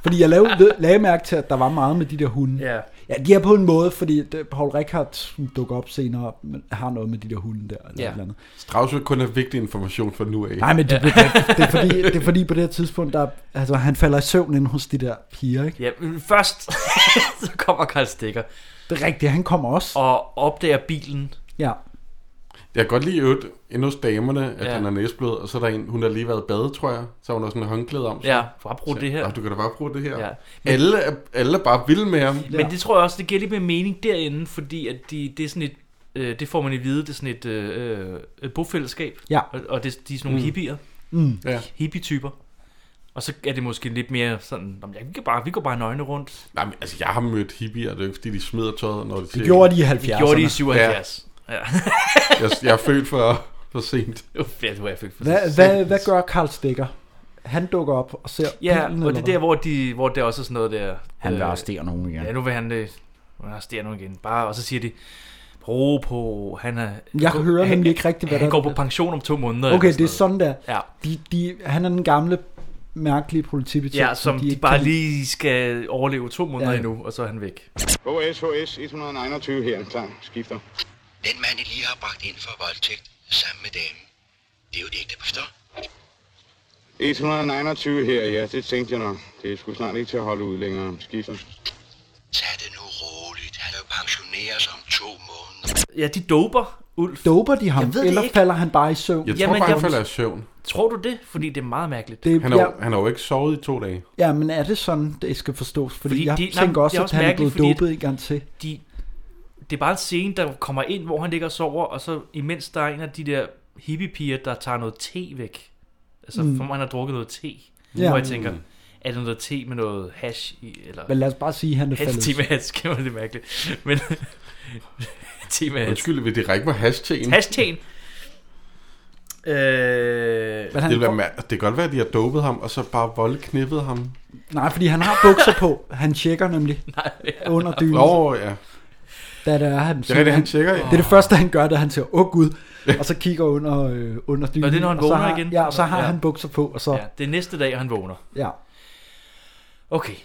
fordi jeg lavede, ved- lagde mærke til, at der var meget med de der hunde. Ja. ja de er på en måde, fordi det, Paul Rickard, som dukker op senere, men har noget med de der hunde der. Eller Ja. ja. et eller andet. Strauss vil kun have vigtig information fra nu af. Nej, men det, det, det, er fordi, det er fordi på det her tidspunkt, der, altså, han falder i søvn inde hos de der piger. Ikke? Ja, men *laughs* først så kommer Karl Stikker Det er rigtigt, han kommer også. og opdager bilen. Ja. Jeg kan godt lide i øvrigt, endnu hos damerne, at Ja. ja. han er næsblød, og så er der en, hun har lige været i bade, tror jeg. Så har hun også sådan en håndklæde om. Ja, bare brug det her. Og du kan da bare bruge det her. Ja. Ja. Alle, er, alle er bare vilde med ham. Men det tror jeg også, det giver lidt mere mening derinde, fordi at de, det er sådan et, øh, det får man i vide, det er sådan et øh, øh, bofællesskab. Ja. Og, og det, de er sådan nogle mm. hippier, Mm. Ja. hippie-typer. Og så er det måske lidt mere sådan, "Nå, men jeg- vi, kan bare, vi går bare nøgne rundt. Nej, men altså, jeg har mødt hippier, det er jo ikke, fordi de smider tøjet, når de ser- gjorde de i 70'erne. Det gjorde de i 77. Ja. ja. jeg, jeg er født for, for sent. Ja, du er fik for Hvad, hvad, hvad gør Karl Stikker? Han dukker op og ser Ja, bilen, og eller det er hvad? der, hvor, de, hvor der også er sådan noget der... øh, Han vil arrestere nogen igen. Ja, nu vil han det. Nu vil han arrestere nogen igen. Bare, og så siger de, ro på, han er... Jeg går- hører han, nemlig ikke rigtigt, hvad Han der- går på pension om to måneder. Okay, eller det er sådan der. Ja. De, de, han er den gamle, mærkelige politibetjent. Ja, som de, ikke bare kan- lige skal overleve to Ja. måneder ja. endnu, og så er han væk. OS, OS 121 her. Klar, skifter. Den mand, I lige har bragt ind for voldtægt sammen med damen, det er jo det ikke, der forstår. 129 her, ja, det tænkte jeg nok. Det er sgu snart ikke til at holde ud længere. Skifter. Tag det nu roligt. Han er jo pensioneret som to måneder. Ja, de doper Ulf. Doper de ham, Jeg ved det eller ikke. falder han bare i søvn? Jeg tror Jamen, bare, han falder i søvn. Tror du det? Fordi det er meget mærkeligt. Det- Han har, ja. jo- han har jo ikke sovet i to dage. Ja, men er det sådan, det skal forstås? Fordi, fordi jeg de, nej, tænker men også, det er at han er mærkeligt, blevet fordi dopet en gang til. De, det er bare en scene, der kommer ind, hvor han ligger og sover, og så imens der er en af de der hippiepiger, der tager noget te væk. Altså, Mm. mm. for mig, han har drukket noget te. Ja. Ja. Hvor jeg tænker, Mm. er det noget te med noget hash i? Eller... Men lad os bare sige, at han er hash, faldet. Te med hash, *laughs* kan man det er mærkeligt. Men *laughs* te med hash. Undskyld, vil det række med hashtaggen? Hashtaggen. Øh, det, vil være, mær- det kan godt være, at de har dopet ham, og så bare voldknippet ham. Nej, fordi han har bukser på. Han tjekker nemlig *laughs* Nej, ja. under dynen. Nå, ja. Da det er, han, Det er rigtigt, han tjekker, ja. Det er det første, han gør, da han siger, åh oh, gud, og så kigger under, øh, under dynen. Nå, det er, når han og så vågner har, igen. Ja, og så har Ja. han bukser på, og så... ja, det er næste dag, og han vågner. Ja. Okay.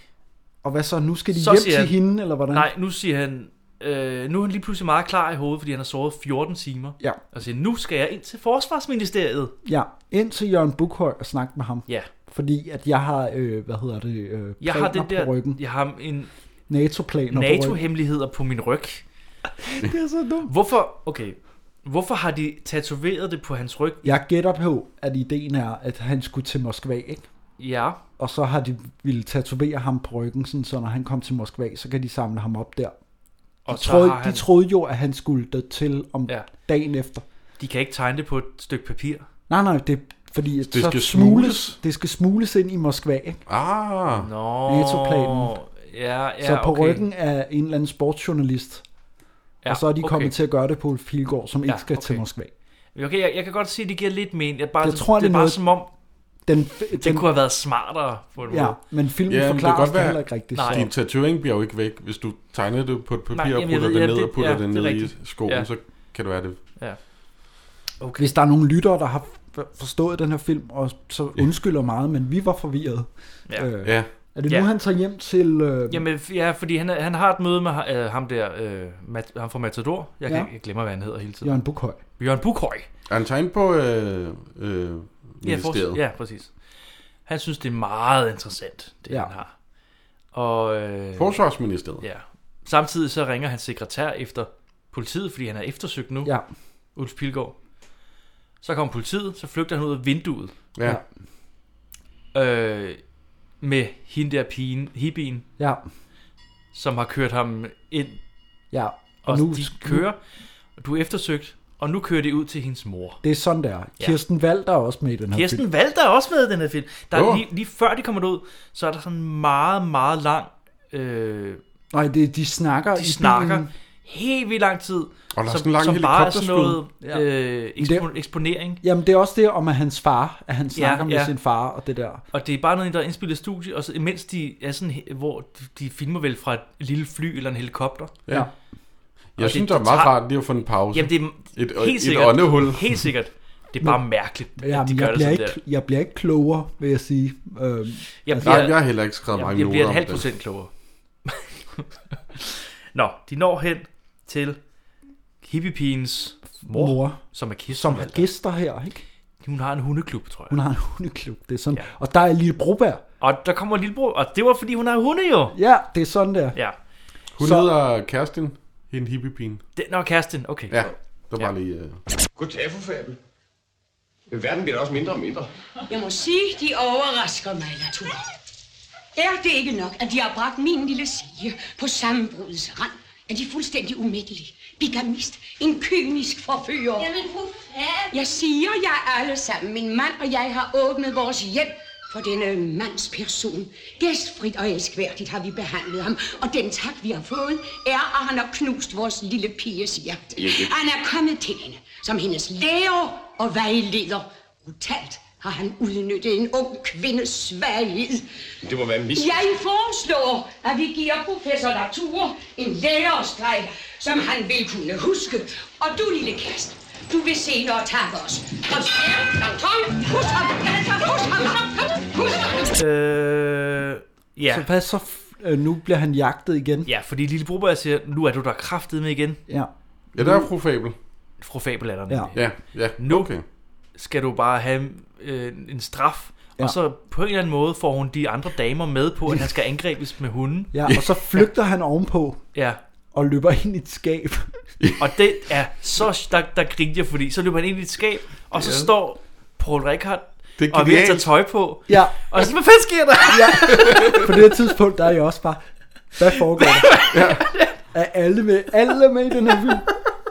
Og hvad så? Nu skal de Så hjem siger til han- hende, eller hvordan? Nej, nu siger han... Øh, nu er han lige pludselig meget klar i hovedet, fordi han har sovet 14 timer. Ja. Og siger, nu skal jeg ind til Forsvarsministeriet. Ja, ind til Jørgen Bukhøj og snakke med ham. Ja. Fordi at jeg har, øh, hvad hedder det, øh, Jeg har den der... på ryggen. Jeg har en NATO-planer på ryggen. NATO-hemmeligheder på min ryg. Det er så dumt. Hvorfor... Okay. Hvorfor har de tatoveret det på hans ryg? Jeg gætter på, at ideen er, at han skulle til Moskva, ikke? Ja. Og så har de ville tatovere ham på ryggen, sådan, så når han kom til Moskva, så kan de samle ham op der. Og Og de, så troede, har han... han- de troede jo, at han skulle dø til om ja. Ja. dagen efter. De kan ikke tegne det på et stykke papir. Nej, nej, det er fordi, at Det så skal smugles. Det skal smugles ind i Moskva, ikke? Ah. Nå. NATO-planen. Ja, ja, så på okay. ryggen af en eller anden sportsjournalist. Ja, Ja, og så er de okay. okay. kommet til at gøre det på Ulf Pilgaard, som ikke Ja, skal til okay. Moskva. Okay, jeg, jeg kan godt se, at det giver lidt mening. Jeg, bare, Jeg tror, det, det er er bare noget- som om, den, det den- kunne have været smartere på en Ja, måde. men filmen men forklarer kan os godt det heller ikke rigtigt, Nej. så- Din tatovering bliver jo ikke væk. Hvis du tegner det på et papir Nej, Nej, og jamen, jeg putter ved- det ja, ned det- og putter ja, det det er ned i rigtigt. skoen, Ja. så kan det være det. Ja. Okay. Hvis der er nogle lyttere, der har f- forstået den her film, og så undskylder meget, men vi var forvirrede. Ja. Øh, Ja. Er det nu, Ja. han tager hjem til... Øh, Jamen, f- ja, fordi han, han har et møde med ha- øh, ham der, øh, Mat, ham fra Matador. Jeg, kan, Ja. ja. jeg glemmer, hvad han hedder hele tiden. Jørgen Bukhøj. Jørgen Bukhøj. Er han tegnet på øh, øh, Ja, for, ministeriet? ja, præcis. Han synes, det er meget interessant, det ja. han har. Og, øh, Forsvarsministeriet. Ja. Samtidig så ringer hans sekretær efter politiet, fordi han er eftersøgt nu. Ja. Ulf Pilgaard. Så kommer politiet, så flygter han ud af vinduet. Ja. Øh, med hende der pigen, hippien. Ja. Som har kørt ham ind. Ja. Og, og nu- nu, de kører. Og du er eftersøgt. Og nu kører de ud til hendes mor. Det er sådan, der. Ja. Kirsten Walter er også med i den her film. Kirsten Walter er også med i den her film. Der Jo. er lige, lige før de kommer ud, så er der sådan en meget, meget lang... Øh, Nej, det, de snakker i de snakker bilen. helt vildt lang tid. Og der er som, sådan en lang som bare er sådan noget helikopterskud. Ja. øh, ekspo- eksponering. Jamen, det er også det om, at hans far, at han Ja, snakker med ja. sin far og det der. Og det er bare noget, der er indspillet i studie, og så, imens de er sådan, he- hvor de- de filmer vel fra et lille fly eller en helikopter. Ja. Jeg Og synes, det er meget rart lige at få en pause. Jamen, det er Et- et, et helt sikkert, åndehul. Helt sikkert. Det er bare mærkeligt, at Ja, de men gør jeg, det bliver sådan ikke, der. jeg bliver ikke klogere, vil jeg sige. Øhm, Jeg bliver- Nej, jeg har heller ikke skrevet jeg- mange Jeg bliver noter et om halvt det. procent klogere. *laughs* Nå, de når hen til hippiepigens mor, Mor. mor, som er Kirsten som har Walter. gæster her, ikke? Hun har en hundeklub, tror jeg. Hun har en hundeklub, det er sådan. Ja. Og der er Lille Broberg. Og der kommer lillebror, og det var fordi, hun har hunde jo. Ja, det er sådan der. Ja. Hun så... hedder Kerstin, hende hippiepin. Det, nå, kæresten, okay. Ja, der var ja. lige... Øh... Goddag, fru Fabel. Verden bliver da også mindre og mindre. Jeg må sige, de overrasker mig, Latour. Er det ikke nok, at de har bragt min lille sige på sammenbrudets rand? Er de fuldstændig umiddelige? Bigamist? En kynisk forfører? Jamen, fru Fab. Jeg siger jer alle sammen, min mand og jeg har åbnet vores hjem For denne mands person, gæstfrit og elskværdigt har vi behandlet ham, og den tak, vi har fået, er, at han har knust vores lille piges hjerte. Ja, det- Han er kommet til hende som hendes lærer og vejleder. Brutalt har han udnyttet en ung kvindes svaghed. Det må være en mis... Jeg foreslår, at vi giver professor Latour en lærerstreg, som han vil kunne huske. Og du, lille kast, du vil senere takke os. Kom, kom, kom, husk ham, altså, husk ham, kom, kom, husk ham. Øh, ja. Så hvad så? f- øh, Nu bliver han jagtet igen. Ja, fordi Lille Broberg siger, nu er du der kraftet med igen. Ja. Ja, der er fru Fabel. Fru Fabel er der. Ja. nemlig. Ja, ja, Nu okay. skal du bare have øh, en straf, ja. Ja. og så på en eller anden måde får hun de andre damer med på, at han skal angribes med hunden. Ja, og så flygter han ovenpå. Ja. Og løber ind i et skab. Og det er så, der, der grinte jeg, fordi så løber han ind i et skab, og så Ja. står Paul Rikard Det er og er ved at tage genialt. tøj på. Ja. Og så, hvad fanden sker der? Ja. På det her tidspunkt, der er jeg også bare, hvad foregår *laughs* der? Ja. Er alle med, alle er med i den her film?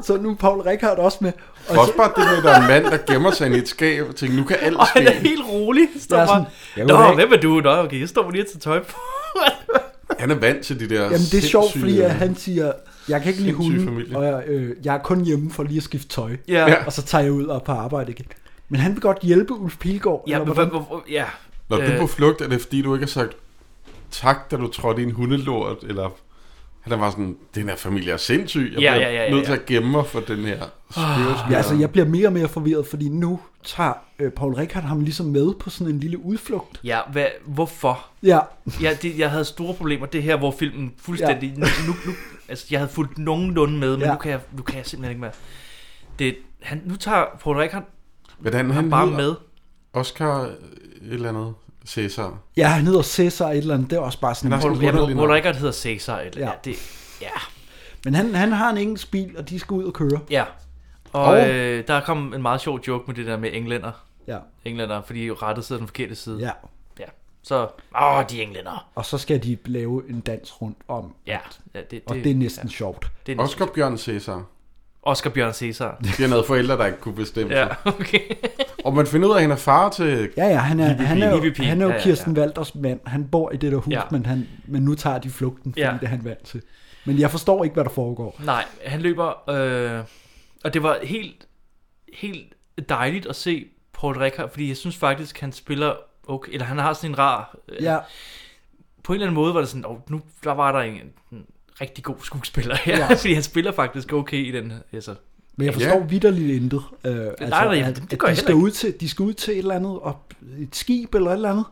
Så nu er Paul Rikard også med. Og *laughs* Også bare det med, at der er en mand, der gemmer sig ind i et skab og tænker, nu kan alt Og han er ske. helt rolig. Står Jeg er bare, sådan, jeg Nå, ved ikke." hvem er du? Nå, okay, jeg står lige og tager tøj på. *laughs* Han er vant til de der Jamen det er sjovt, fordi øh, sindssyge- at han siger, jeg kan ikke lide Sindssyge hunden, familie. og jeg, øh, jeg er kun hjemme for lige at skifte tøj. Ja. Ja. Og så tager jeg ud og er på arbejde igen. Men han vil godt hjælpe Ulf Pilgaard. Ja, eller men, hvordan? hvor- hvor- ja. Når du er Øh, på flugt, er det fordi, du ikke har sagt tak, da du trådte i en hundelort, eller... Han er bare sådan, den her familie er sindssyg. Jeg Ja, bliver ja, ja, ja, nødt ja. Ah, til at gemme mig for den her Ja, spøgelsesmørder." altså, jeg bliver mere og mere forvirret, fordi nu tager øh, Paul Rikard ham ligesom med på sådan en lille udflugt. Ja, hvad, hvorfor? Ja. ja det, jeg havde store problemer. Det her, hvor filmen fuldstændig... Ja. Nu, nu, altså, jeg havde fulgt nogenlunde med, men ja. Ja. nu, kan jeg, nu kan jeg simpelthen ikke mere. Det, han, nu tager Paul Rikard Hvordan ham han bare hedder? med. Oscar et eller andet. Cæsar. Ja, han hedder Cæsar et eller andet. Det er også bare sådan Han er en sådan Jeg tror, underlig Paul nok. Rikard hedder Cæsar. Eller, ja. Ja. ja. Det, ja. Men han, han har en engelsk bil, og de skal ud og køre. ja. Og, Og- øh, der kom en meget sjov joke med det der med englænder. Ja. Englænder, fordi rettet sidder den forkerte side. Ja. ja. Så, åh, de englænder. Og så skal de lave en dans rundt om. Ja, ja det, det, og det er næsten ja. sjovt. Det er næsten- Oscar Bjørn Cæsar. Oscar Bjørn Cæsar. De har noget forældre, der ikke kunne bestemme Ja, sig. okay. Og man finder ud af, at han er far til... Ja, ja, han er, Hippie han er, Pete. jo, han er jo Ja, ja, ja. Kirsten Walders mand. Han bor i det der hus, Ja. ja. men, han, men nu tager de flugten, fordi Ja. ja. det er han vant til. Men jeg forstår ikke, hvad der foregår. Nej, han løber, øh, og det var helt, helt dejligt at se Paul Ricard, fordi jeg synes faktisk, han spiller okay, eller han har sådan en rar... Øh, Ja. På en eller anden måde var det sådan, oh, nu der var der en, en rigtig god skuespiller her, ja. Ja. *laughs* fordi han spiller faktisk okay i den her. Altså, Men jeg forstår ja. vidderligt intet. Øh, altså, nej, det- at, det at gør jeg de, skal heller ud til, de skal ud til et eller andet, og et skib eller et eller andet.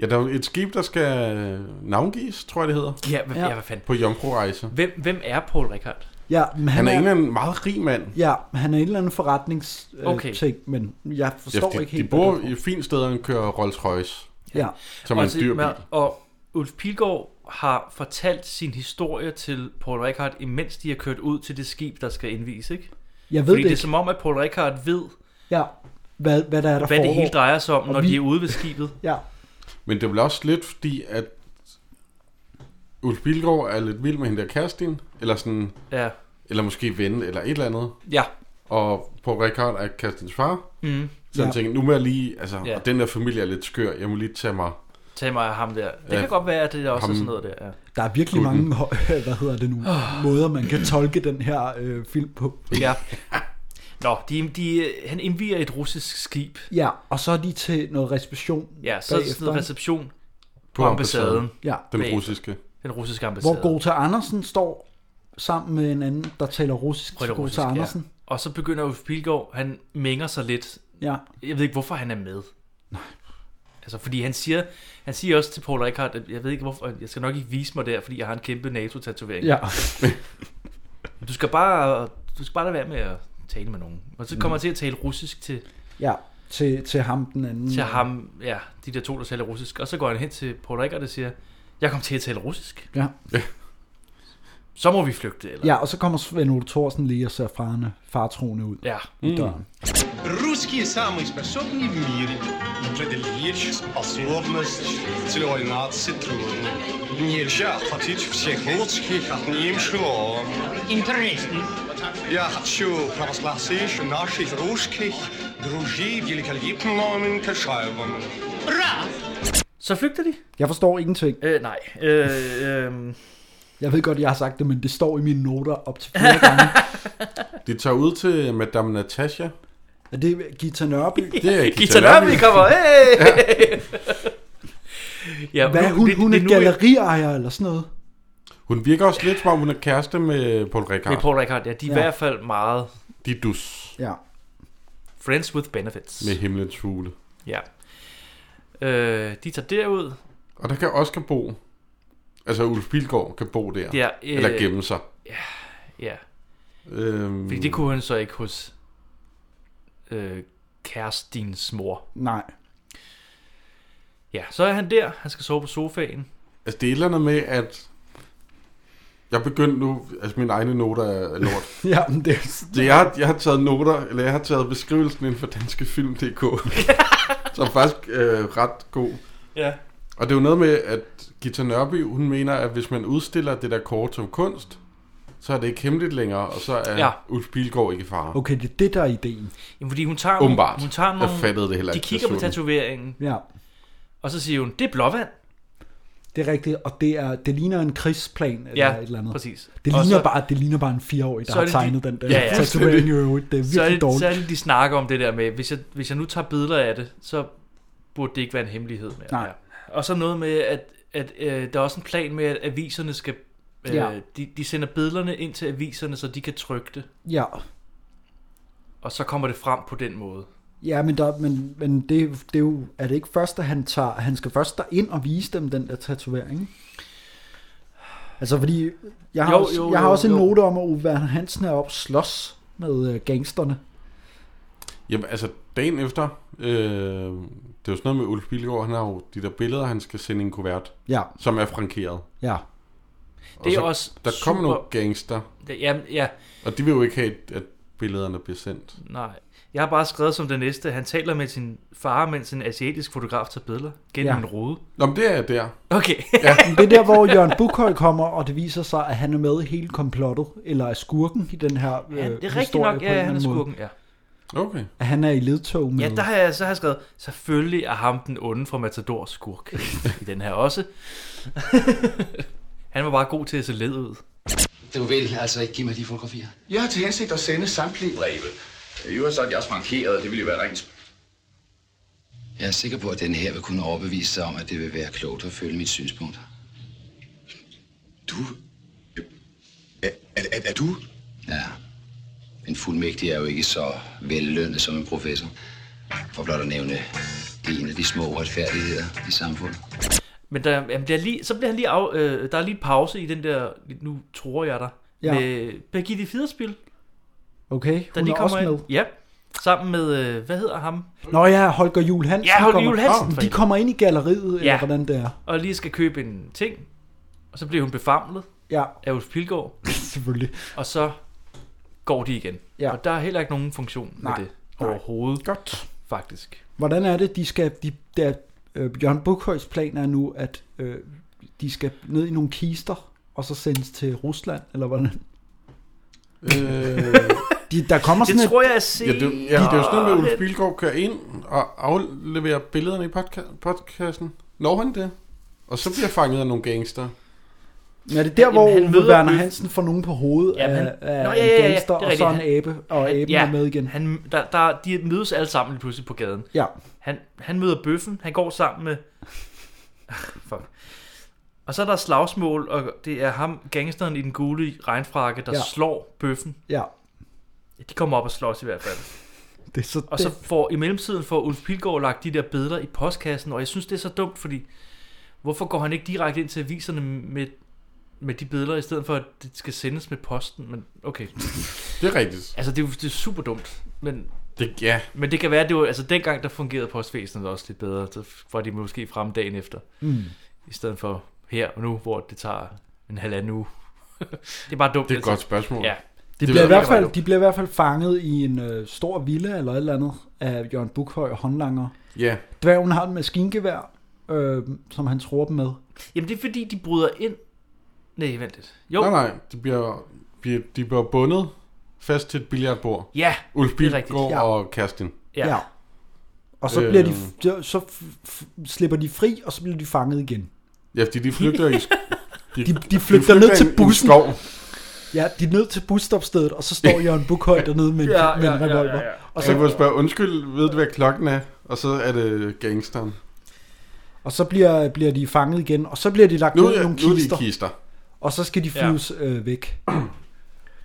Ja, der er jo et skib, der skal navngives, tror jeg det hedder. Ja, hvad- ja, hvad fanden. På jomfru-rejse. hvem, hvem er Paul Ricard? Ja, men Han han, er en eller anden meget rig mand. Ja, han er en eller anden forretningsting, øh, Okay. ting, men jeg forstår de, ikke helt. De hvad der- bor i et fint sted, og han kører Rolls Royce. Ja. Som er en Altså, dyr bil. men- Og Ulf Pilgaard har fortalt sin historie til Paul Ricard, imens de har kørt ud til det skib, der skal indvise, ikke? Jeg ved Fordi det det er ikke. som om, at Paul Ricard ved, Ja, hvad, hvad der er der hvad det foregår. hele drejer sig om, Og når vi- de er ude ved skibet. Ja. Men det er vel også lidt fordi, at Ulf Bilgaard er lidt vild med hende der Kerstin, eller sådan, Ja. eller måske ven, eller et eller andet. Ja. Og på Rikard er Kerstins far. Mhm. Så han Ja. tænker, nu må jeg lige, altså, Ja. ja. og den der familie er lidt skør, jeg må lige tage mig. Tag mig af ham der. Det Ja, kan godt være, at det også er ham- sådan noget der. Ja. Der er virkelig Gutten. mange, *laughs* hø- hvad hedder det nu, måder, man kan tolke den her øh, film på. *laughs* ja. Nå, de, de, øh, han indviger et russisk skib. Ja, og så er de til noget reception Ja, så er der bagefter, sådan noget ikke? reception på På ambassaden. ambassaden. Ja. Den Bagefter. russiske. Den russiske ambassade. Hvor Gota Andersen står sammen med en anden, der taler russisk til Rødt Gota russisk, Andersen. Ja. Og så begynder Ulf Pilgaard, han mænger sig lidt. Ja. Jeg ved ikke, hvorfor han er med. Nej. Altså, fordi han siger, han siger også til Paul Rickard, at jeg ved ikke, hvorfor, jeg skal nok ikke vise mig der, fordi jeg har en kæmpe NATO-tatovering. Ja. du skal bare, du skal bare lade være med at tale med nogen. Og så kommer Mm. han til at tale russisk til, *laughs* Ja, til, til ham den anden. til ham, ja, de der to, der taler russisk. Og så går han hen til Paul Rickard og siger, jeg kom til at tale russisk. Ja. Så må vi flygte, eller? Ja, og så kommer Svend Ole Thorsen lige og ser farne, fartroende ud Ja. Mm. i døren. Русские самые способные в мире. Преодолеть способность целой нации трудно. Нельзя охватить всех русских одним шилом. Интересно. Я хочу провозгласить наших русских друзей великолепным кашаевым. Bra! Så flygter de? Jeg forstår ingenting. Øh, nej. Øh, øh, Jeg ved godt, jeg har sagt det, men det står i mine noter op *laughs* til flere gange. De tager ud til Madame Natasha. Er det Gita Nørby? Det er Gita, Gita Nørby kommer, hey! Ja, Hvad, hun, hun er galleriejer eller sådan noget? Hun virker også lidt, som om hun er kæreste med Paul Ricard. Med Paul Ricard, ja. De er ja. i hvert fald meget... De er dus. Ja. Friends with benefits. Med himlens fugle. Ja. Øh, de tager derud. Og der kan Oscar bo. Altså Ulf Pilgaard kan bo der. Ja, øh, øh, eller gemme sig. Ja, ja. Øhm, Fordi det kunne han så ikke hos øh, kærestens mor. Nej. Ja, så er han der. Han skal sove på sofaen. Altså det er et eller andet med, at... Jeg begyndte nu... Altså mine egne noter *laughs* er lort. *laughs* Ja, men det, Det, jeg, har, jeg har taget noter, eller jeg har taget beskrivelsen inden for *laughs* danskefilm.dk, som er faktisk øh, ret god. Ja. Og det er jo noget med, at Gita Nørby, hun mener, at hvis man udstiller det der kort som kunst, så er det ikke hemmeligt længere, og så er Ja. ja. Ulf Bilgaard ikke i fare. Okay, det er det, der er ideen. Jamen, fordi hun tager, Åbenbart. Hun tager Jeg nogle, fattede det heller De ikke, kigger da på jeg så tatoveringen. Ja. Og så siger hun, det er blåvand. Det er rigtigt, og det, er, det ligner en krigsplan eller Ja, et eller andet. præcis. Det Og ligner, så- så, bare, det ligner bare en fireårig, der Så er har det tegnet de- den der Ja, ja. tatovering i øvrigt. Det er så er virkelig det, Så er dårligt. det, de snakker om det der med, hvis jeg, hvis jeg nu tager billeder af det, så burde det ikke være en hemmelighed mere. Nej. Og så noget med, at, at øh, der er også en plan med, at aviserne skal... Øh, Ja. de, de sender billederne ind til aviserne, så de kan trykke det. Ja, Og så kommer det frem på den måde. ja men, der, men, men det, det er jo, er det ikke først, at han tager, han skal først ind og vise dem den der tatovering? ikke? Altså fordi, jeg har, Jo, jo, også, jo, jo, jeg har jo, også en jo. note om, at Ove Werner Hansen er op slås med øh, gangsterne. Jamen altså, dagen efter, øh, det er jo sådan noget med Ulf Bilgaard, han har jo de der billeder, han skal sende i en kuvert, Ja. som er frankeret. Ja. Og Det er så, også Der kommer super- nogle gangster, Ja, ja, og de vil jo ikke have, at billederne bliver sendt. nej. Jeg har bare skrevet som det næste, han taler med sin far, mens en asiatisk fotograf tager billeder gennem Ja. en rude. Nå, men det er jeg der. Okay. Ja. Det er der, hvor Jørgen Bukhøj kommer, og det viser sig, at han er med i hele komplottet, eller er skurken i den her øh, *laughs* Ja, det er rigtigt historie nok, på en ja, han eller er anden måde. skurken, ja. Okay. At han er i ledtog med... Ja, der har jeg så har jeg skrevet, selvfølgelig er ham den onde fra Matador skurk i den her også. *laughs* Han var bare god til at se led ud. Du vil altså ikke give mig de fotografier? Jeg har til hensigt at sende samtlige breve. I øvrigt så er de også markeret, det ville jo være rent sp- Jeg er sikker på, at den her vil kunne overbevise dig om, at det vil være klogt at følge mit synspunkt. Du? Er, er, er, er du? Ja. En fuldmægtig er jo ikke så vellønnet som en professor. For blot at nævne, det er en af de små retfærdigheder i samfundet. Men der, jamen, der er lige, så bliver han lige af, øh, der er lige en pause i den der, nu tror jeg dig, Ja. med Birgitte Fiderspil, Okay, der hun lige er kommer også med. ind. Ja, sammen med, øh, hvad hedder ham? Nå ja, Holger Juhl Hansen Ja, Holger kommer. Juul Hansen, for de helvede. kommer ind i galleriet, ja. Ja. eller hvordan det er. Og lige skal købe en ting, og så bliver hun befamlet Ja. *laughs* af Ulf Pilgaard, Selvfølgelig. og så går de igen. Ja. Og der er heller ikke nogen funktion med Nej, det nej. overhovedet. Godt. Faktisk. Hvordan er det, de skal... De, der, øh, Jørgen Bukhøjs plan er nu, at øh, de skal ned i nogle kister, og så sendes til Rusland, eller hvordan? *laughs* Øh, De, der kommer sådan et... jeg ja, det, ja, det er jo sådan noget med, at Ulf Bilgaard kører ind og afleverer billederne i podca- podcasten. Når han det? Og så bliver jeg fanget af nogle gangster. Men er det der, hvor han han møder Werner Ulf- Hansen får nogen på hovedet Jamen, af, han- af Nå, en ja, ja, gangster, det er og så en rigtigt. abe, og aben er med igen. Han, der, der, de mødes alle sammen lige pludselig på gaden. Ja. Han, han møder bøffen, han går sammen med... *laughs* Fuck. Og så er der slagsmål, og det er ham, gangsteren i den gule regnfrakke, der ja. Ja. slår bøffen. Ja, Ja, De kommer op og slås i hvert fald. det er så... Og så får, i mellemtiden får Ulf Pilgaard lagt de der billeder i postkassen, og jeg synes, det er så dumt, fordi hvorfor går han ikke direkte ind til aviserne med, med de billeder, i stedet for, at det skal sendes med posten? Men okay. Det er rigtigt. Altså, det er, jo- det er super dumt, men... Det, ja, Men det kan være, at det var, altså dengang der fungerede postvæsenet også lidt bedre, så var de måske frem dagen efter. Mm. I stedet for her og nu, hvor det tager en halvanden uge. *laughs* det er bare dumt. altså. Det er et godt spørgsmål. Ja. De Det bliver, i ved jeg hvert ikke, fald, de bliver i hvert fald fanget i en øh, stor villa eller et eller andet af Jørgen Bukhøj og håndlanger. Ja. Dværgen har en maskingevær, øh, som han tror dem med. Jamen det er fordi, de bryder ind. Nej, vent lidt. Jo, Nej, nej, de bliver, bliver, de bliver bundet fast til et billardbord. Ja, Ulf det er rigtigt. Bilgaard og Kerstin. Ja. ja. Og så, bliver de, så- så f- f- slipper de fri, og så bliver de fanget igen. Ja, fordi de flygter i... De, de, flygter, ned i til en bussen. skov. Ja, de er ned til busstopstedet, og så står Jørgen Bukhøj dernede med, *laughs* ja, med en revolver. Og Og så så kan man spørge, undskyld, ved du hvad klokken er? Og så er det gangsteren. Og så bliver, bliver de fanget igen, og så bliver de lagt Nu ned i er- nogle nu kister, er de i kister. Og så skal de Ja. flyves ja. øh, væk. *clears throat*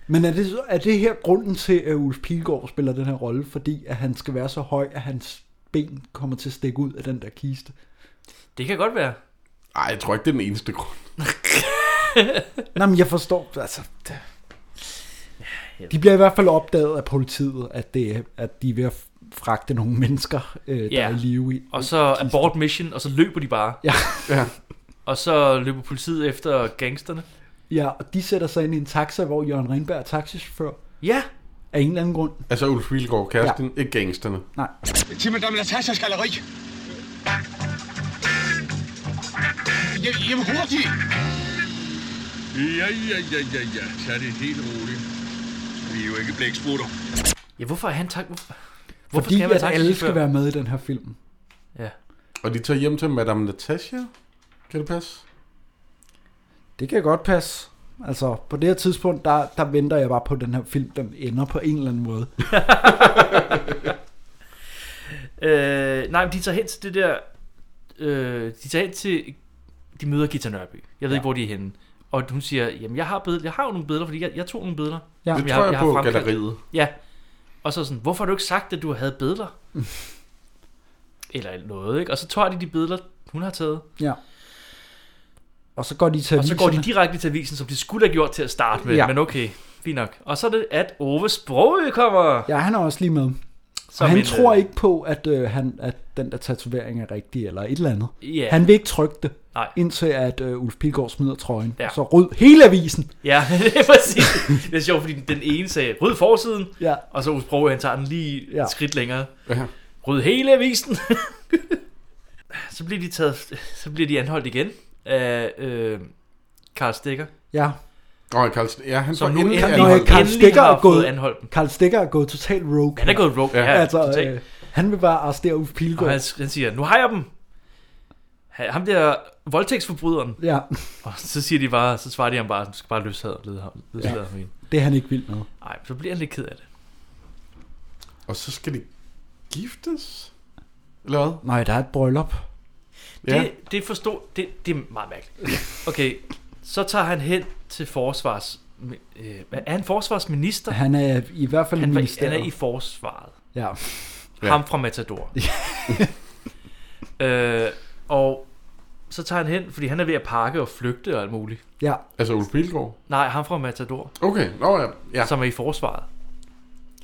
Men er det, så- er det her grunden til, at Ulf Pilgaard spiller den her rolle, fordi at han skal være så høj, at hans ben kommer til at stikke ud af den der kiste? Det kan godt være. Nej, jeg tror ikke, det er den eneste grund. Nå, men jeg forstår, altså... det- De bliver i hvert fald opdaget af politiet, at, det, er- at de er ved at fragte nogle mennesker, øh, der er i live i. Og så abort mission, og så løber de bare. Ja. ja. Og så løber politiet efter gangsterne. Ja, og de sætter sig ind i en taxa, hvor Jørgen Renberg er taxichauffør. Ja. Af en eller anden grund. Altså Ulf Vilgaard, kæresten, ja. ikke gangsterne. Nej. Sig mig, der vil tage sig skalleri. Jeg, jeg vil hurtigt. Ja, ja, ja, ja, ja. Tag det helt roligt. Vi er jo ikke blæksprutter. Ja, hvorfor er han tak? Hvorfor, hvorfor Fordi skal han være at alle taxichauffør? skal være med i den her film. Og de tager hjem til Madame Natasha. Kan det passe? Det kan godt passe. Altså, på det her tidspunkt, der, der venter jeg bare på, at den her film, den ender på en eller anden måde. Øh, nej, men de tager hen til det der... Øh, de tager hen til... De møder Gita Nørby. Jeg ved ja. ikke, hvor de er henne. Og hun siger, jamen jeg har, billeder, jeg har jo nogle billeder, fordi jeg, jeg tog nogle billeder. Ja. som Det tror jeg på fremkaldt." galleriet. Ja. Og så sådan, hvorfor har du ikke sagt, at du havde *laughs* billeder? Eller noget, ikke? Og så tager de de billeder, hun har taget. Ja. Og så går de til Og så går de aviserne. direkte til avisen, som de skulle have gjort til at starte med. Ja. Ja. Men okay, fint nok. Og så er det, at Ove Sprogø kommer. Ja, han er også lige med. Som og han en, tror øh, ikke på, at, øh, han, at den der tatovering er rigtig, eller et eller andet. Ja. Han vil ikke trykke det, Nej. indtil at øh, Ulf Pilgaard smider trøjen. Ja. Så rød hele avisen. Ja, *laughs* det er præcis. Det er sjovt, fordi den ene sagde rød forsiden, ja. og så Ove Sprogø, han tager den lige ja. Ja. et skridt længere. Ja. Rød hele avisen. *laughs* så, bliver de taget, så bliver de anholdt igen af øh, Karl Stikker. Ja. Nå, Karl, ja, han Som får nu endelig endelig- anholdt. Endelig Karl Stikker har er gået, fået anholdt dem. Karl Stikker er gået totalt rogue. Han er gået rogue, ja, altså, totalt. øh, han vil bare arrestere Ulf Pilgaard. Og han, han siger, nu har jeg dem. Ha- Ham der voldtægtsforbryderen. Ja. Og så siger de bare, så svarer de ham bare, du skal bare løslade lede ham. Ja. Løslade ham igen. Det er han ikke vild med. Nej, så bliver han lidt ked af det. Og så skal de giftes? Eller hvad? Nej, der er et bryllup. Ja. Det, det forstod, det, det er meget mærkeligt. Okay, så tager han hen til forsvars... Øh, hvad- er han forsvarsminister? Han er i hvert fald i han, var, ministeriet. han er i forsvaret. Ja. Ja. Ham fra Matador. *laughs* øh, og så tager han hen, fordi han er ved at pakke og flygte og alt muligt. Ja. Altså Ulf Pilgaard? Nej, ham fra Matador. Okay, nå ja. ja. Som er i forsvaret.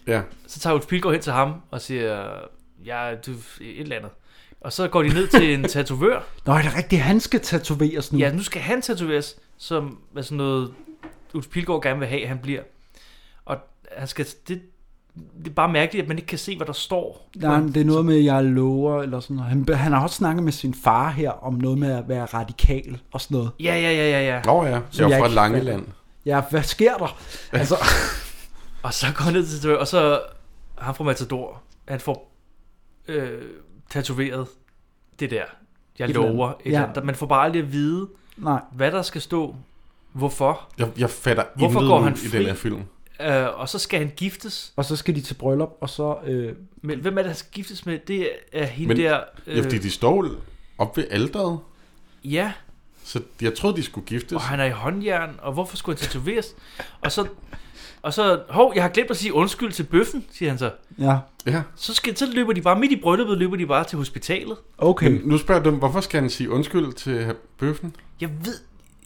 Ja. Så tager Ulf Pilgaard hen til ham og siger, ja, du, et eller andet. Og så går de ned til en tatovør. Nå, er det rigtigt? Han skal tatoveres nu. Mm. Ja, nu skal han tatoveres, som er sådan noget, Ulf Pilgaard gerne vil have, han bliver. Og han skal, det, det er bare mærkeligt, at man ikke kan se, hvad der står. Nej, men det er noget med, jeg lover, eller sådan noget. Han, han har også snakket med sin far her, om noget med at være radikal, og sådan noget. Ja, ja, ja, ja, ja. Nå ja, Som jeg er fra ikke- Langeland. Ja, hvad sker der? Altså, *laughs* Og så går han ned til tatovør, og så ham fra Matador, han får øh, tatoveret det der, jeg Et eller andet. lover. Et Ja. eller andet. Man får bare aldrig at vide, Nej. hvad der skal stå, hvorfor. Jeg, jeg fatter Hvorfor intet går ud han i fri? den her film. Øh, og så skal han giftes. og så skal de til bryllup, og så... Øh, Men hvem er det, han skal giftes med? Det er hende Men, der... ja, fordi de står op ved alderet. øh, Ja. Så jeg troede, de skulle giftes. Og han er i håndjern, og hvorfor skulle han tatoveres? og så, og så, hov, jeg har glemt at sige undskyld til bøffen, siger han så. Ja. Ja. Så, skal, så løber de bare, midt i brylluppet, løber de bare til hospitalet. Okay. Men nu spørger du, hvorfor skal han sige undskyld til her- bøffen? Jeg ved,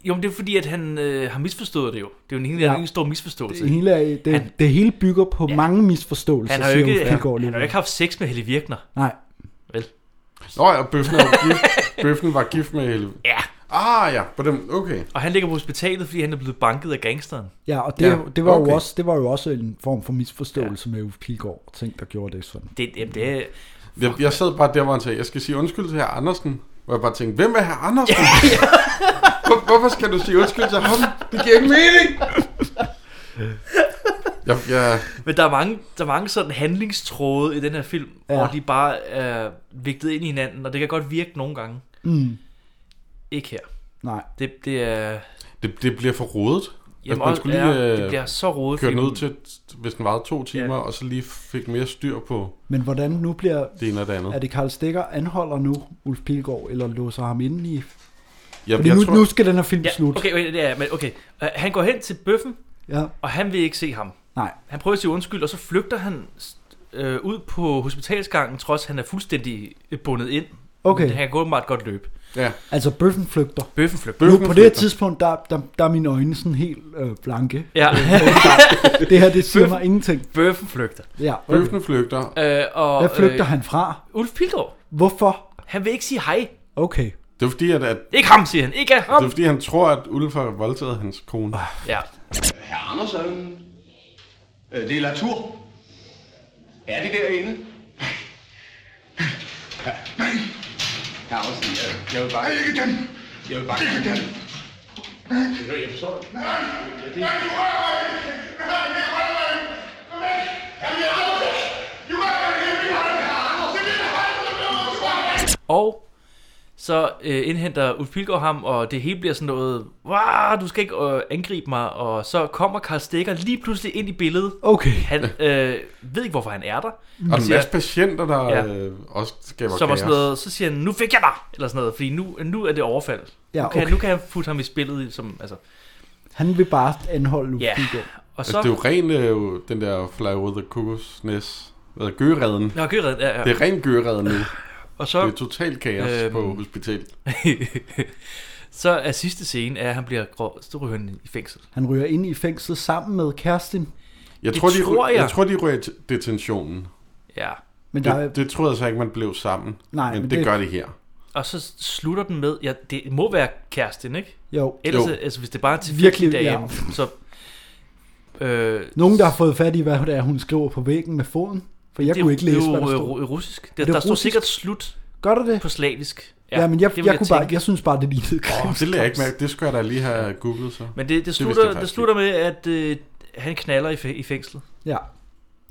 jo, men det er fordi, at han øh, har misforstået det jo. Det er jo en, ja. Ja. en stor misforståelse. det, hele er, det, han, det hele bygger på ja. mange misforståelser, han har jo siger ikke, Ulf han, Pilgaard han har jo lige ikke haft sex med Helle Virkner. Nej. Vel? Nå ja, bøffen, er gift. bøffen var gift med Helve. Ja. Ah ja, på dem, okay. Og han ligger på hospitalet, fordi han er blevet banket af gangsteren. Ja, og det, ja, det, var okay. jo også, det var jo også en form for misforståelse ja. med Ulf Pilgaard, ting, der gjorde det sådan. Det, jamen, det er... Jeg, jeg sad bare der, hvor han sagde, jeg skal sige undskyld til herr Andersen. Hvor jeg bare tænkte, hvem er herr Andersen? Hvor, hvorfor skal du sige undskyld til ham? Det giver ikke mening! Jeg, jeg, Men der er mange, der er mange sådan handlingstråde i den her film, ja. Ja. hvor de bare er vigtet ind i hinanden, og det kan godt virke nogle gange. Mm. Ikke her. Nej. Det, det er... det, det bliver for rodet. Jamen, man skulle lige ja, øh, det bliver så rodet, køre den fordi- ud til, hvis den varede to timer, ja. og så lige fik mere styr på Men hvordan nu bliver... det ene og det andet. Er det Karl Stikker anholder nu Ulf Pilgaard, eller låser ham inde i... Jeg- Fordi jeg nu, tror- nu skal den her film Ja, slut. okay, okay, det er, men okay. Uh, han går hen til bøffen, Ja. og han vil ikke se ham. Nej. Han prøver at sige undskyld, og så flygter han øh, ud på hospitalsgangen, trods han er fuldstændig øh, bundet ind. Okay. Men Han kan åbenbart godt løbe. Ja. Altså, bøffen flygter. Bøffen flygter. Nu, Bøffen på det her flygter. tidspunkt, der, der, der er mine øjne sådan helt øh, blanke. Ja. *laughs* Øh, åbenbart. det her, det siger mig ingenting. Bøffen flygter. Ja. Bøffen flygter. Øh, og, Hvad flygter han fra? Ulf Pilgaard. Hvorfor? Han vil ikke sige hej. Okay. Det er fordi, at, at Ikke ham, siger han. Ikke ham. Det er fordi, han tror, at Ulf har voldtaget hans kone. Ja. Herr Andersen. Øh, Det er Latour. Er det derinde? Herr Andersen, jeg, jeg vil bare... Ikke den! Jeg vil bare... Ikke den! Jeg forstår det. Og så øh, indhenter Ulf Pilgaard ham, og det hele bliver sådan noget, wow, du skal ikke øh, angribe mig, og så kommer Karl Stikker lige pludselig ind i billedet. Okay. Han øh, ved ikke, hvorfor han er der. Og en masse patienter, der Ja. ja. øh, også skaber Som var kaos. sådan noget, så siger han, nu fik jeg dig, eller sådan noget, fordi nu, nu er det overfald. Ja, nu, kan, okay. nu kan han putte ham i spillet, i- som, altså, Han vil bare anholde Ulf Ja. Pilgaard. Og Og så- så... altså, det er jo ren øh, den der fly over the cuckoo's nest. Hvad hedder det? gøreden. Nå, gøreden, ja, ja. Det er ren gøreden nu. Og så- *laughs* det er totalt kaos Øhm. øhm... på hospitalet. så er sidste scene, er, at han bliver grå, så ryger han i fængsel. Han ryger ind i fængslet sammen med Kerstin. Jeg Det tror, de, tror jeg. jeg. jeg tror, de ryger i t- detentionen. Ja. Men Men der der... er- det, det troede jeg så ikke, man blev sammen. Nej, men, men men det, det- det gør det her. Og så slutter den med, ja, det må være kæresten, ikke? Jo. Ellers, Jo. altså hvis det bare er til Virkelig, virkelig derhjemme, ja. ja. så... Øh, Nogen, der har fået fat i, hvad det er, hun skriver på væggen med foden. For jeg det, kunne ikke læse, det er hvad jo der øh, stod. ru- russisk. Er Der, det der står russisk? sikkert slut Gør det det? på slavisk. Ja, men jeg, jeg, vil jeg, kunne bare, tænke. jeg synes bare, det lignede Oh, krimskrams. det lader jeg ikke mærke. Det skulle jeg da lige have googlet så. Men det, det, vidste slutter, det, jeg det faktisk slutter med, at øh, han knaller i, fæ- i fængslet. Ja.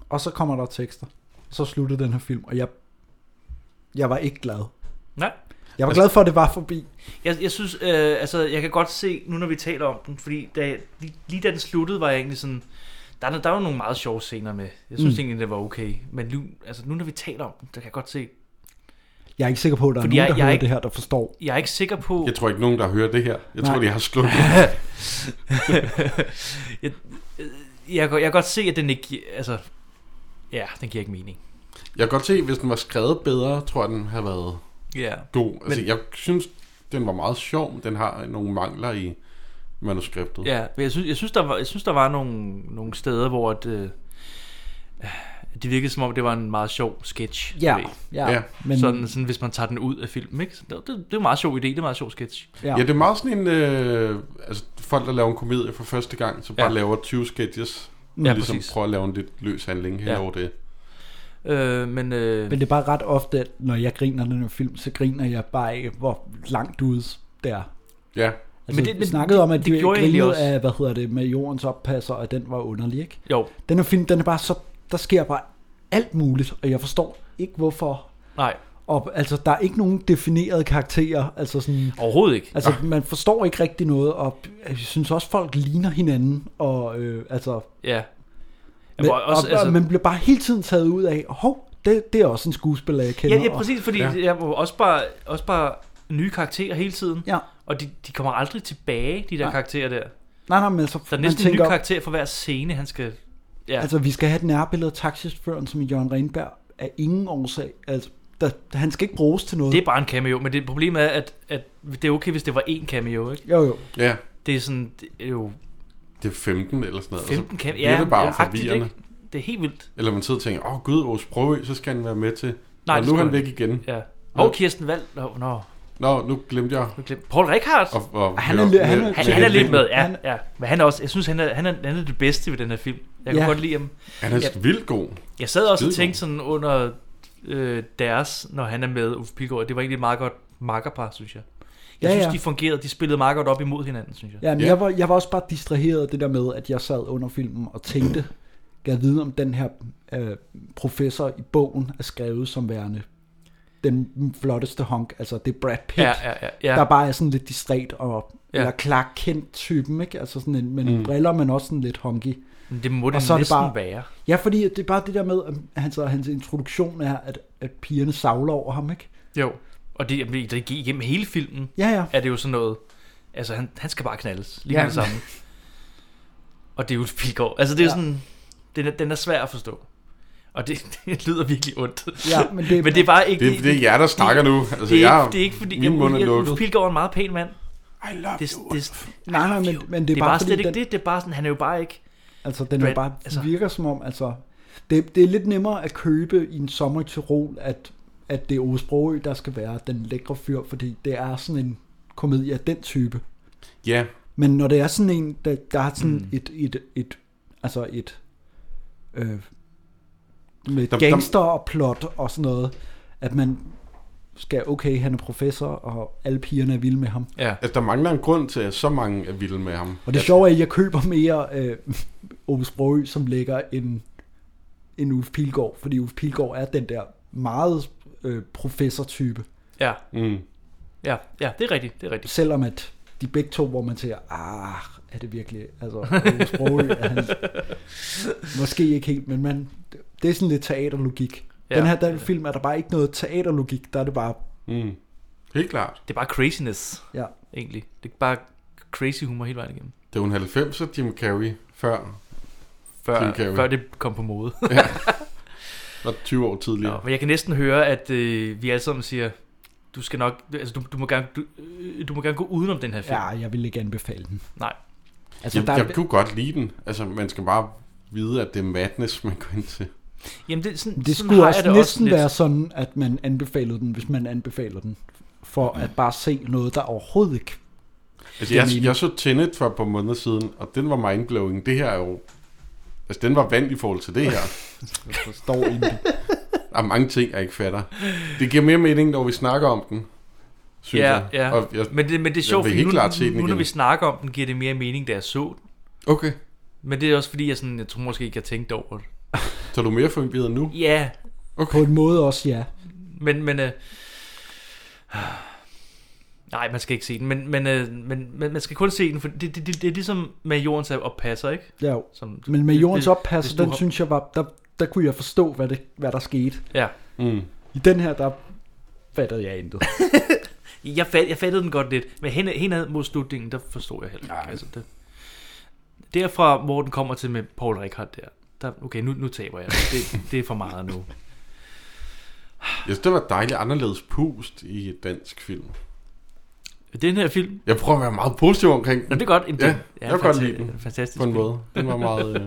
Og så kommer der tekster. Så sluttede den her film, og jeg, jeg var ikke glad. Nej. Jeg var glad for, at det var forbi. Jeg, jeg synes, øh, altså, jeg kan godt se, nu når vi taler om den, fordi da, lige, lige da den sluttede, var jeg egentlig sådan, der, er- der var nogle meget sjove scener med. Jeg Mm. synes mm. egentlig, det var okay. Men nu, altså, nu når vi taler om den, der kan jeg godt se, Jeg er ikke sikker på, at der Fordi er jeg- nogen, der jeg er hører ikke- det her, der forstår. jeg er ikke sikker på... Jeg tror ikke nogen, der hører det her. Jeg Nej. tror, de har slukket. *laughs* jeg, øh, jeg, kan- jeg kan godt se, at den ikke... gi- Altså, ja, den giver ikke mening. Jeg kan godt se, hvis den var skrevet bedre, tror jeg, den har været Ja. god. Altså, Men- men... jeg synes, den var meget sjov. men Den har nogle mangler i manuskriptet. Ja, men jeg synes, jeg synes, der, var, jeg synes, der var nogle, nogle steder, hvor at, øh, det virkede som om, det var en meget sjov sketch. Ja, du ved. ja, Ja. men- Sådan, sådan, hvis man tager den ud af filmen, ikke? Så Det, det, det er en meget sjov idé, det er en meget sjov sketch. Ja. ja, det er meget sådan en... Øh, altså, folk, der laver en komedie for første gang, så bare Ja. ja. laver 20 sketches. Mm. Mm. Ja, Ligesom præcis. prøver at lave en lidt løs handling hen Ja. ja. over det. Øh, men, øh, Men det er bare ret ofte, at når jeg griner den her film, så griner jeg bare af, hvor langt ude det er. Ja. Altså, men Men det, det- vi men snakkede om, at det det, det gjorde jeg egentlig grinede også. af, hvad hedder det, med jordens oppasser, og den var underlig, ikke? Jo. Den her film, den er bare så, der sker bare alt muligt, og jeg forstår ikke, hvorfor. Nej. Og altså, der er ikke nogen definerede karakterer, altså sådan... Overhovedet ikke. Altså, Ah. man forstår ikke rigtig noget, og jeg synes også, folk ligner hinanden, og øh, altså... Ja. Men, Hvor også, og, altså... altså- og man bliver bare hele tiden taget ud af, hov, det, det er også en skuespiller, jeg kender. Ja, ja og- præcis, fordi ja. jeg må også bare, også bare nye karakterer hele tiden. Ja. Og de, de kommer aldrig tilbage, de der Nej. Nej. karakterer der. Der Nej, nej, men altså, er man næsten en ny tænker, karakter for hver scene, han skal... Ja. Altså, vi skal have et nærbillede af taxichaufføren, som i Jørgen Renberg af ingen årsag. Altså, der, han skal ikke bruges til noget. Det er bare en cameo, men det problemet er, at, at det er okay, hvis det var én cameo, ikke? Jo, jo. Ja. Det er sådan, det er jo Det er 15 eller sådan noget. 15 og så kan- bliver ja, Altså, det bare ja, agtigt, forvirrende. ikke? Det er helt vildt. Eller man sidder og tænker, åh oh, gud, Ås Sprogø, så skal han være med til. Nej, Nej, det og nu er skulle han væk han- igen. Ja. Nå, Og Kirsten Wald. Nå, nå. Nå, nu glemte jeg. Nu glemte Paul Rickhardt. Og, og, han, er, han, er, Altså, han, han er lidt med, ja, ja. Men han er også, jeg synes, han er, han er, han er det bedste ved den her film. Jeg kan Ja. godt lide ham. Han er jeg, vildt god. Jeg sad også og Skidegod. tænkte sådan under øh, deres, når han er med Uffe Pilgaard, at det var egentlig et meget godt makkerpar, synes jeg. Jeg Ja, synes, ja. de fungerede, de spillede meget godt op imod hinanden, synes jeg. Ja, men yeah. jeg, var, jeg var også bare distraheret af det der med, at jeg sad under filmen og tænkte, Jeg vide, om den her øh, professor i bogen er skrevet som værende den flotteste honk, altså det er Brad Pitt, Ja, ja, ja, ja. der bare er sådan lidt distræt og Ja. ja. eller Clark Kent typen, ikke? Altså sådan en, med mm. Mm. briller, men også sådan lidt honky. Men det må Og det så er næsten bare, være. Ja, fordi det er bare det der med, at hans, hans introduktion er, at, at pigerne savler over ham, ikke? Jo, og det, jamen, det gik igennem hele filmen. Ja, ja. Er det jo sådan noget, altså han, han skal bare knaldes lige Ja. med det *laughs* samme. og det er jo et vilkår. Altså det er ja. Ja. sådan, den er, den er svær at forstå. Og det, *laughs* det lyder virkelig ondt. Ja, men det- men det er bare ikke... Det er- det er jer, der snakker nu. Altså, det, er jeg- ikke, det er ikke fordi... min Jamen, mund er jeg- lukket. Pilgaard er en meget pæn mand. I love det, you. Det, Nej, nej, men, men det er det er bare fordi, slet ikke den- det. Det er bare sådan, han er jo bare ikke... Altså, den er Brad- bare altså- altså. virker som om, altså, det, det er lidt nemmere at købe i en sommer i Tirol, at, at det er Ove Sprogø, der skal være den lækre fyr, fordi det er sådan en komedie af den type. Ja. Men når det er sådan en, der, der er sådan mm. et, et, et, altså et, øh, med Dom- dom- gangster og plot og sådan noget, at man skal, okay, han er professor, og alle pigerne er vilde med ham. Ja. Altså, der mangler en grund til, at så mange er vilde med ham. Og det sjove er, at jeg køber mere øh, Ove Sprogø, som ligger end, end Ulf Pilgaard, fordi Ulf Pilgaard er den der meget øh, professor-type, Ja. Mm. Ja, ja, det er rigtigt, det er rigtigt. selvom at de begge to, hvor man siger, ah, er det virkelig, altså Ove Sprogø er *laughs* han, måske ikke helt, men man, det er sådan lidt teaterlogik. Ja. Ja, den her den film er der bare ikke noget teaterlogik, der er det bare, Mm. Helt klart. Det er bare craziness, Ja. egentlig. Det er bare crazy humor hele vejen igennem. Det var en 90'er Jim Carrey, før, Før- før det kom på mode. ja. Og 20 år tidligere. Nå, men jeg kan næsten høre, at øh, vi alle sammen siger, du skal nok, altså du, du, må gerne, du, øh, du må gerne gå udenom den her film. ja, jeg vil ikke anbefale den. Nej. Altså, Altså, jeg, der er- jeg kunne godt lide den. Altså, man skal bare vide, at det er madness, man går ind til. Jamen det, er sådan, Det sådan skulle har også jeg det næsten også lidt. være sådan, at man anbefalede den, hvis man anbefaler den, for at bare se noget, der overhovedet ikke... Altså, jeg, giver mening. jeg så Tenet for et par måneder siden, og den var mindblowing. Det her er jo... Altså, den var vand i forhold til det her. *laughs* Jeg forstår ikke. Der er mange ting, jeg ikke fatter. Det giver mere mening, når vi snakker om den, synes ja, jeg. ja. Og jeg men, det, men det er sjovt, jeg vil fordi helt nu, klart se den nu, nu når igen. vi snakker om den, giver det mere mening, da jeg så den. Okay. Men det er også fordi, jeg, sådan, jeg tror måske ikke, jeg tænkte over det. Så er du mere fungeret nu? Ja, Okay. På en måde også, ja. men... men øh, nej, man skal ikke se den, men, men, øh, men, men man skal kun se den, for det, det, det, det er ligesom med jordens oppasser, ikke? Ja, jo. Som, Men med jordens hvis oppasser, du den har- synes jeg var... Der, der kunne jeg forstå, hvad, det, hvad der skete. Ja. Mm. I den her, der fattede jeg intet. Jeg, fat, jeg fattede den godt lidt, men hen, henad mod slutningen, der forstod jeg heller ikke. Altså, det, derfra, hvor den kommer til med Paul Rickard der, der okay, nu, nu taber jeg. Det, det er for meget *laughs* nu. Jeg synes, det var et dejligt anderledes pust i et dansk film. Den her film... Jeg prøver at være meget positiv omkring den. Nå, det er godt. Jamen, Ja, det- ja, ja, jeg kan godt fanta- lide den. fantastisk På en film. måde. Den var meget... Øh...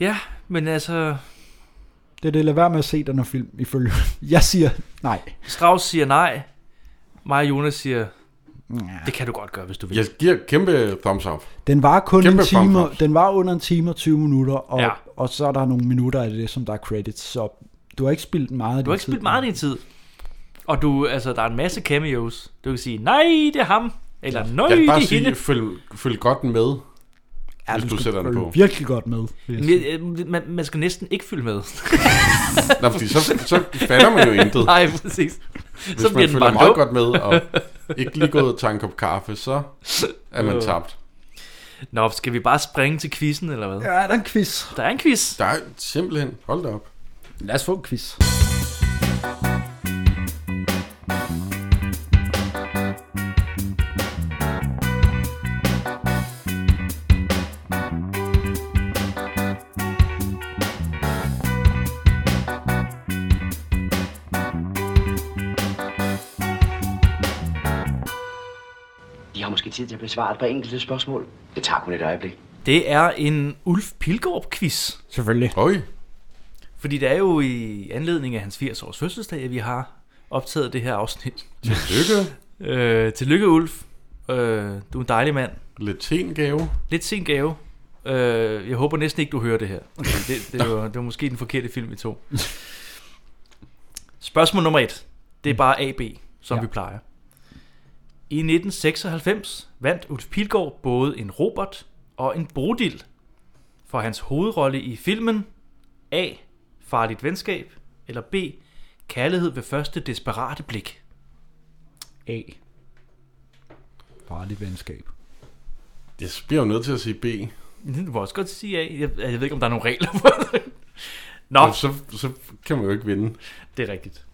Ja, men altså, *laughs* Det er det, lad være med at se den her film, ifølge... *laughs* Jeg siger nej. Strauss siger nej. Mig og Jonas siger, ja. det kan du godt gøre, hvis du vil. *laughs* Jeg giver kæmpe thumbs up. Den var kun Kæmpe en time, thumbs up. den var under en time og 20 minutter, og, Ja. ja. og så er der nogle minutter af det, som der er credits, så du har ikke spildt meget af Du din har ikke tid. spildt meget af din tid. Og du, altså, der er en masse cameos. Du kan sige, nej, det er ham. Eller nej, jeg det vil bare er sige, hende. følg, følg godt med, ja, hvis du, skal sætter den følge på. virkelig godt med. vil jeg sige. Men, øh, Man, man skal næsten ikke følge *laughs* med. Nå, fordi så- så fatter man *laughs* jo intet. Nej, præcis. Hvis så man bliver den følger bare meget dum. godt med, og ikke lige gået og tager en kop kaffe, så er man tabt. Nå, skal vi bare springe til quizzen, eller hvad? Ja, der er en quiz. Der er en quiz. Der er simpelthen... Hold da op. Lad os få en quiz. I har måske tid til at besvare et par enkelte spørgsmål. Det tager kun et øjeblik. Det er en Ulf Pilgaard-quiz. Selvfølgelig. Oj. Fordi det er jo i anledning af hans 80-års fødselsdag, at vi har optaget det her afsnit. Tillykke. øh, tillykke, Ulf. Øh, du er en dejlig mand. Lidt sen gave. Lidt sen gave. Øh, jeg håber næsten ikke, du hører det her. Fordi Det, det, var, det var måske den forkerte film, vi tog. Spørgsmål nummer et. Det er bare AB, som Mm. ja. Ja. vi plejer. I 1996 vandt Ulf Pilgaard både en Robert og en Bodil for hans hovedrolle i filmen A. Farligt venskab, eller B. Kærlighed ved første desperate blik. A. Farligt venskab. Jeg bliver jo nødt til at sige B. Du må også godt sige A. Jeg, jeg ved ikke, om der er nogle regler for det. Nå, Men Så, så kan man jo ikke vinde. det er rigtigt.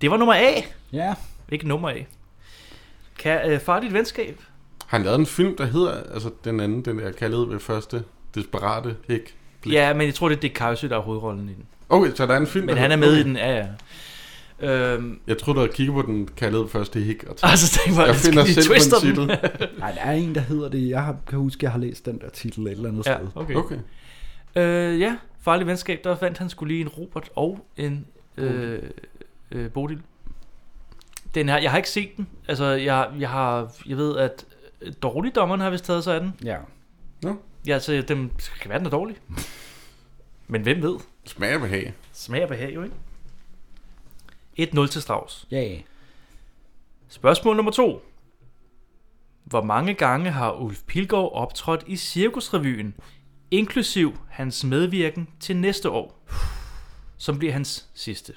Det var nummer A. Ja. Ikke nummer A. Kan, øh, farligt venskab. Har han lavet en film, der hedder, altså den anden, den der kaldede ved første, Desperate Hæk? Blik. Ja, men jeg tror, det er Dick Kajsø, der er hovedrollen i den. Okay, så der er en film, Men der han er hedder- med i okay. den, ja, ja. *laughs* Øhm, Jeg tror, du havde kigget på den kaldede ved første hæk. *laughs* Og tænkt, Altså, tænk, hvor- jeg skal finder vi selv på twiste en den? titel. Nej, der er en, der hedder det. Jeg har, kan huske, jeg har læst den der titel et eller andet ja, sted. *laughs* okay. Okay. Øh, ja, farlig venskab, der fandt han skulle lige en Robert og en øh, øh, Bodil. Den her, jeg har ikke set den. Altså, jeg, jeg, har, jeg ved, at dårligdommerne har vist taget sig af den. Ja. Nå. Ja, så dem kan være, den er dårlig. Men hvem ved? Smag og behag. Smag og behag, jo ikke? 1-0 til Strauss. Ja. Yeah. Spørgsmål nummer to. Hvor mange gange har Ulf Pilgaard optrådt i Cirkusrevyen, inklusiv hans medvirken til næste år, som bliver hans sidste?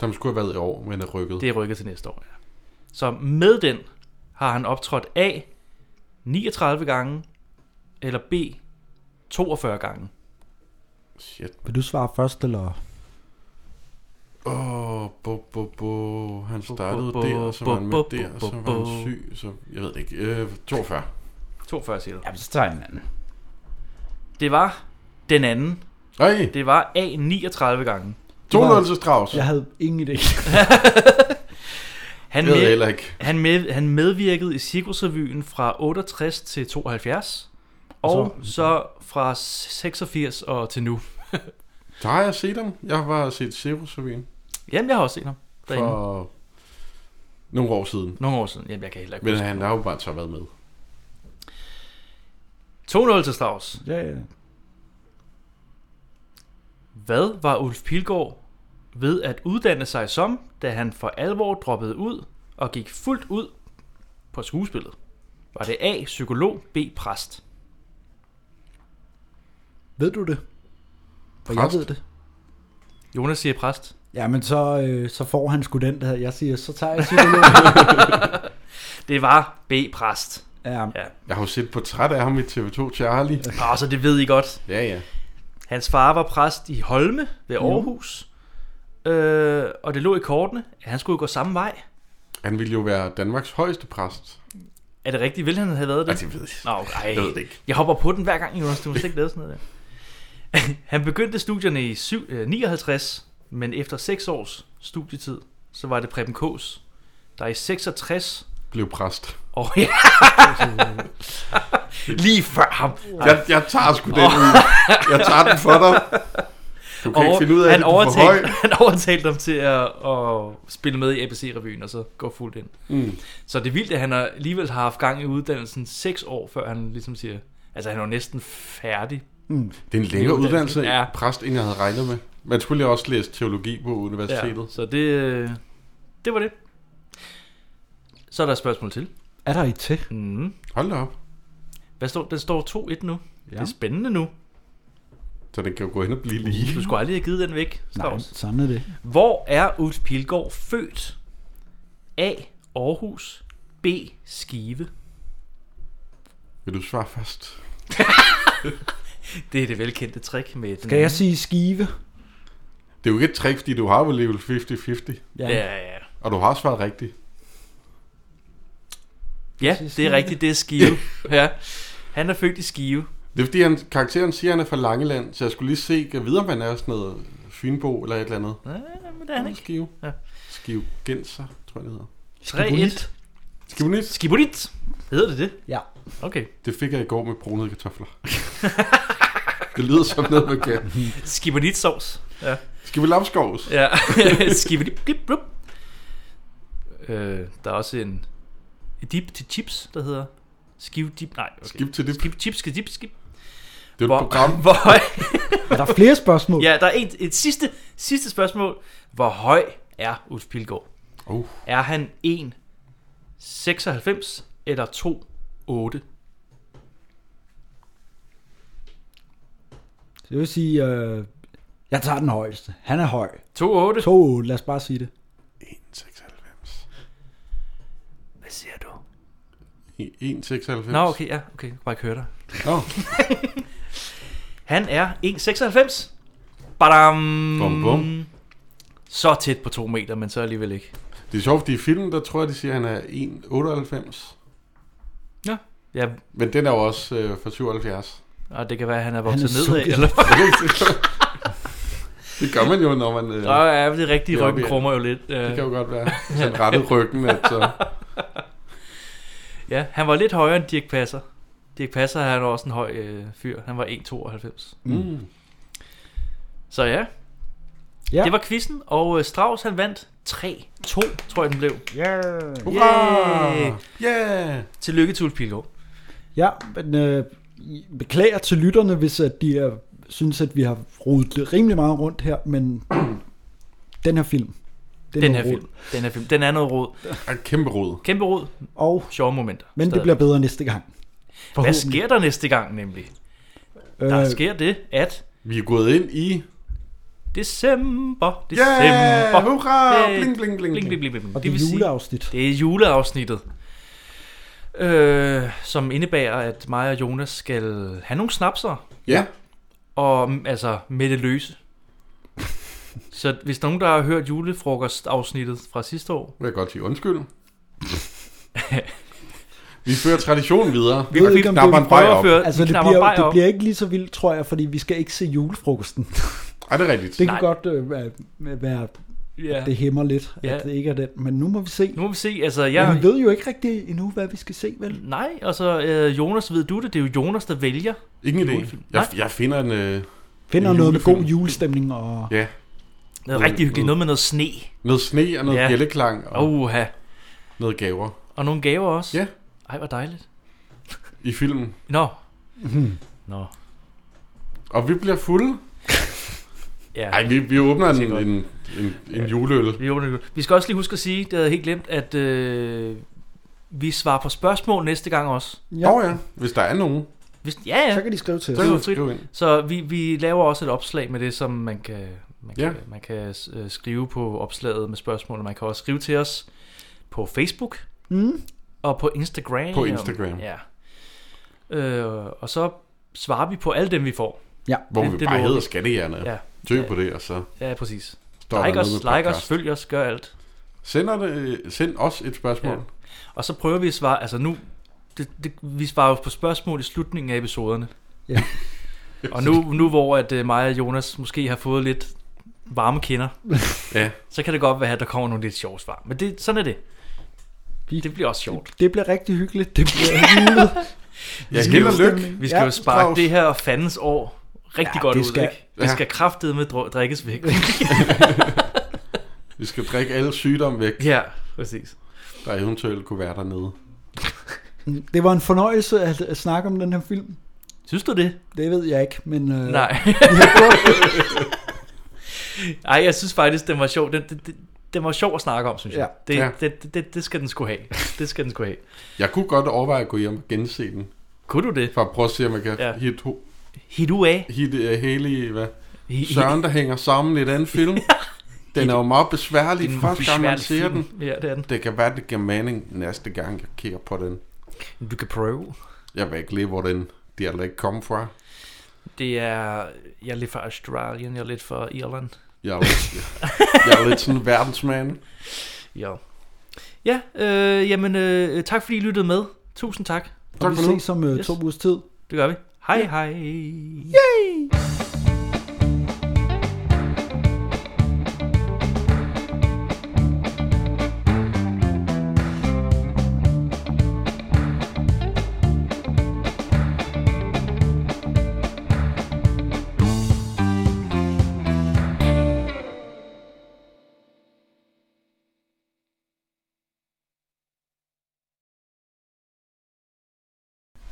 Som skulle have været i år, men er rykket. Det er rykket til næste år, ja. Så med den har han optrådt A 39 gange, eller B 42 gange. Shit. Vil du svare først, eller? Åh, oh, bo, bo, bo. Han startede bo, der, og så var han med bo, bo, der, og så bo, var bo. han syg, så jeg ved det ikke. Øh, 42. 42 siger du. Jamen, så tager jeg den anden. Det var den anden. Ej. Det var A 39 gange. 2-0 til Strauss. Jeg havde ingen idé. Han, Det ved jeg heller ikke. Han, med, han medvirkede i Cirkusrevyen fra 68 til 72, og så, så fra 86 og til nu. Der har jeg set ham. Jeg har set Cirkusrevyen Jamen, jeg har også set ham derinde. For... for nogle år siden. Nogle år siden. Jamen, jeg kan heller ikke Men huske han det. har jo bare så været med. 2-0 til Strauss. Ja, ja. Hvad var Ulf Pilgaard ved at uddanne sig som, da han for alvor droppede ud og gik fuldt ud på skuespillet? Var det A. Psykolog, B. Præst? Ved du det? For Præst? jeg ved det. Jonas siger præst. Jamen, så, øh, så får han sgu den der. Jeg siger, så tager jeg psykologen. Det var B. *laughs* Præst. Ja. ja. Jeg har jo set et portræt af ham i TV2 Charlie. Og så det ved I godt. Ja, ja. Hans far var præst i Holme ved Aarhus. Øh, og det lå i kortene, at han skulle gå samme vej. Han ville jo være Danmarks højeste præst. Er det rigtigt? Ville han have været det? Ej, det ved Altså, jeg ikke. Nå, ej. Jeg ved det ikke. Jeg hopper på den hver gang, Jonas. Du må slet ikke lave sådan noget der. *laughs* Han begyndte studierne i syv- øh, 59, men efter 6 års studietid, så var det Preben Kås, der i 66... Blev præst. Åh, *laughs* oh, ja. Lige før ham. Jeg, jeg tager sgu den ud. Jeg tager den for dig. Du kan ikke finde ud af han det, du er for høj. overtalte, *laughs* han overtalte dem til at, at spille med i ABC-revyen, og så gå fuldt ind. Mm. Så det er vildt, at han har- alligevel har haft gang i uddannelsen seks år, før han ligesom siger... Altså, han er jo næsten færdig. Mm. Det er en længere Med uddannelse, Ja, ja. præst, end jeg havde regnet med. Man skulle jo også læse teologi på ja. universitetet. Så det, øh, det var det. Så er der et spørgsmål til. Er der et til? Mm. Hold da op. Hvad står, den står 2-1 nu. Ja. Det Ja. er spændende nu. Så den kan jo gå hen og blive lige. Du skulle aldrig have givet den væk, Nej, Stavs. sådan er det. Hvor er Ulf Pilgaard født? A. Aarhus. B. Skive. Vil du svare først? Det er det velkendte trick med den Skal jeg sige skive? Det er jo ikke et trick, fordi du har jo level 50-50. Ja, ja, ja. Og du har svaret rigtigt. Ja, det er rigtigt, det er *laughs* Skive. ja. Han er født i Skive. Det er fordi, han, karakteren siger, at han er fra Langeland, så jeg skulle lige se, jeg videre, om han er sådan noget Fynbo eller et eller andet. Ja, men det er han ikke. Skive. Ja. Skive Genser, tror jeg, det hedder. 3-1. Skibonit. Skibonit. Hedder det det? Ja. Okay. Det fik jeg i går med brunede kartofler. *laughs* det lyder som noget, man kan. Skibonit sovs. Ja. Skal vi *laughs* lapskovs? Ja. Skibonit. Blip, blup. Øh, der er også en en dip til chips, der hedder Skive dip. Nej, okay. Skib til dip. Skib, chips, skib, dip, skib. Det er jo et program. *laughs* Hvor, Er der flere spørgsmål? ja, der er et, et sidste, sidste spørgsmål. Hvor høj er Ulf Pilgaard? Uh. Er han 1, 96 eller 2, 8? Det vil sige, øh, jeg tager den højeste. Han er høj. 2,8. 2,8, lad os bare sige det. 1,96. Hvad siger du? 1,96. Nå, okay, ja, okay. Jeg kan bare ikke høre dig. Nå. Han er 1,96. Badam. Bum, bum. Så tæt på 2 meter, men så alligevel ikke. Det er sjovt, fordi i filmen, der tror jeg, de siger, at han er 1,98. Ja. Ja, Men den er jo også øh, fra 77. og det kan være, at han er vokset er nedad, sunket. eller Det gør man jo, når man... Øh, Nå, ja, det er rigtigt. er Ryggen oppe i- krummer jo lidt. Det øh. kan jo godt være. Hvis han rettede ryggen, at så... *laughs* Ja, han var lidt højere end Dirk Passer. Dirk Passer han var også en høj øh, fyr. Han var 1,92. Mm. Så ja. ja. Det var quizzen, og øh, Strauss han vandt 3-2, tror jeg den blev. Yeah. Hurra! Yeah. Yeah! Tillykke, Tuls Pilgaard. Ja, men øh, beklager til lytterne, hvis at de er, synes, at vi har rodet rimelig meget rundt her, men den her film. Den, er den noget her rod. film. Den her film. Den er noget rod. Er kæmpe rod. Kæmpe rod. Og sjove momenter. Men det stadig. bliver bedre næste gang. Hvad Forhåbentlig. sker der næste gang nemlig? Der Øh. sker det, at Vi er gået ind i... december, december. Yeah! Hurra! Øh, Bling, bling, bling, bling, bling, bling. Og det er vil sige, juleafsnit. Det er juleafsnittet. Øh, som indebærer, at mig og Jonas skal have nogle snapser. Ja. Og mm, altså med det *laughs* løse. Så hvis nogen, der har hørt julefrokostafsnittet fra sidste år, Vil jeg godt sige undskyld. Vi fører traditionen videre. Vi- vi knapper en bajer op. Altså, Vi det knapper en bliver, bajer det op. bliver ikke lige så vildt, tror jeg, fordi vi skal ikke se julefrokosten. *laughs* Ej, det er rigtigt. Det kan Nej. godt øh, være, være Ja. at det hæmmer lidt, Ja. at det ikke er den. Men nu må vi se. nu må vi se, altså Ja. jeg... Vi ved jo ikke rigtig endnu, hvad vi skal se, vel? Nej, altså øh, Jonas, ved du det? Det er jo Jonas, der vælger. Ingen idé. Julefilm. Jeg, Nej. jeg finder en... Øh, Finder en noget med god julefilm. julestemning og... Ja. Noget rigtig hyggeligt. Noget med noget sne. Noget sne og noget Ja. ja. bjælleklang og Uha. noget gaver. Og nogle gaver også. Ja. Ej, hvor dejligt. I filmen. *laughs* Nå. Mhm. Nå. Og vi bliver fulde. Ja. Ej, vi, vi åbner en, Det er godt. en, en, en juleøl. Vi, åbner- vi skal også lige huske at sige, det havde jeg helt glemt, at øh, vi svarer på spørgsmål næste gang også. Ja. Oh, ja. Hvis der er nogen. Hvis, ja, ja. Så kan de skrive til Det os. Så er kan jo du skrive ind. frit. Så vi, vi laver også et opslag med det, som man kan, man kan, Ja. man kan øh, skrive på opslaget med spørgsmål, og man kan også skrive til os på Facebook Mm. og på Instagram. På Instagram. Ja. Øh, og så svarer vi på alle dem, vi får. Ja. Hvor Det- vi det bare lover hedder vi. skattehjerne. Ja. Søg på det, og så Ja, præcis. står der Like noget os, med like os, podcast. følg os, gør alt. Sender det, send os et spørgsmål. Ja. Og så prøver vi at svare, altså nu, det, det, vi svarer jo på spørgsmål i slutningen af episoderne. Ja. og nu, nu hvor at øh, mig og Jonas måske har fået lidt varme kinder, Ja. så kan det godt være, at der kommer nogle lidt sjove svar. Men det, sådan er det. Det bliver også sjovt. Det bliver rigtig hyggeligt. Det *laughs* bliver julet. Ja, held og lykke. Vi skal ja, Ja, jo sparke Claus. det her fandens år rigtig Ja, godt det ud, skal- ikke? Det Ja. skal kraftedeme med drikkes væk. Vi skal drikke alle sygdomme væk, ja, præcis. der eventuelt kunne være dernede. Det var en fornøjelse at, at snakke om den her film. Synes du det? Det ved jeg ikke, men... Øh, Nej. Ej, jeg synes faktisk, den var sjov. Den, den, den- den var sjov at snakke om, synes jeg. Ja. Det, Ja. det, det- det, det, skal den skulle have. Det skal den skulle have. Jeg kunne godt overveje at gå hjem og gense den. Kunne du det? For at prøve at se, om jeg kan Ja. ja. hit, ho- Hit du af. hit uh, hele i, hvad? Hi- Søren, der hænger sammen i den film. Den er jo meget besværlig Det er en første gang, man besværlig ser film. den. Ja, det er den. Det kan være, det giver mening næste gang, jeg kigger på den. Du kan prøve. Jeg ved ikke lige, hvor den dialekt kom fra. Det er... Jeg er lidt fra Australien, jeg er lidt fra Irland. Jeg er, lidt, jeg er lidt sådan en verdensmand. Ja. Ja, øh, jamen øh, tak fordi I lyttede med. Tusind tak. og Tak vi for nu. ses om øh, Yes. to ugers tid. Det gør vi. Hej hej. Yay!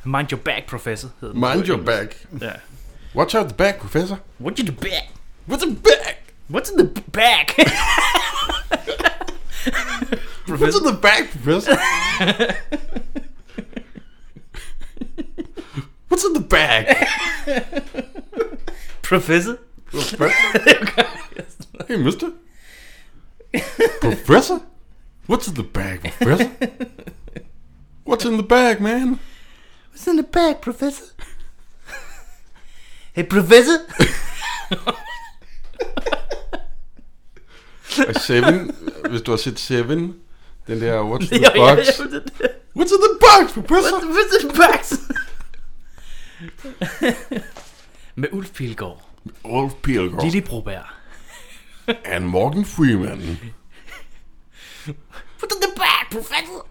Mind your back, professor. Hed den. Mind your back. Ja. Watch out the back, professor. What's in the back? What's the back? What's in the back? What's in the back, professor? What's in the back? *laughs* Professor? Professor? hey, mister. Professor? What's in the bag, Professor? What's in the bag, man? What's in the bag, Professor? hey, Professor? *laughs* Og Seven, hvis du har set Seven, den der What's in Ja, the ja, box? ja, det der. What's in the box, Professor? What's in the box? Med Ulf Pilgaard. Ulf Pilgaard. Lili Broberg. And Morgan Freeman. Put in the bag, Professor!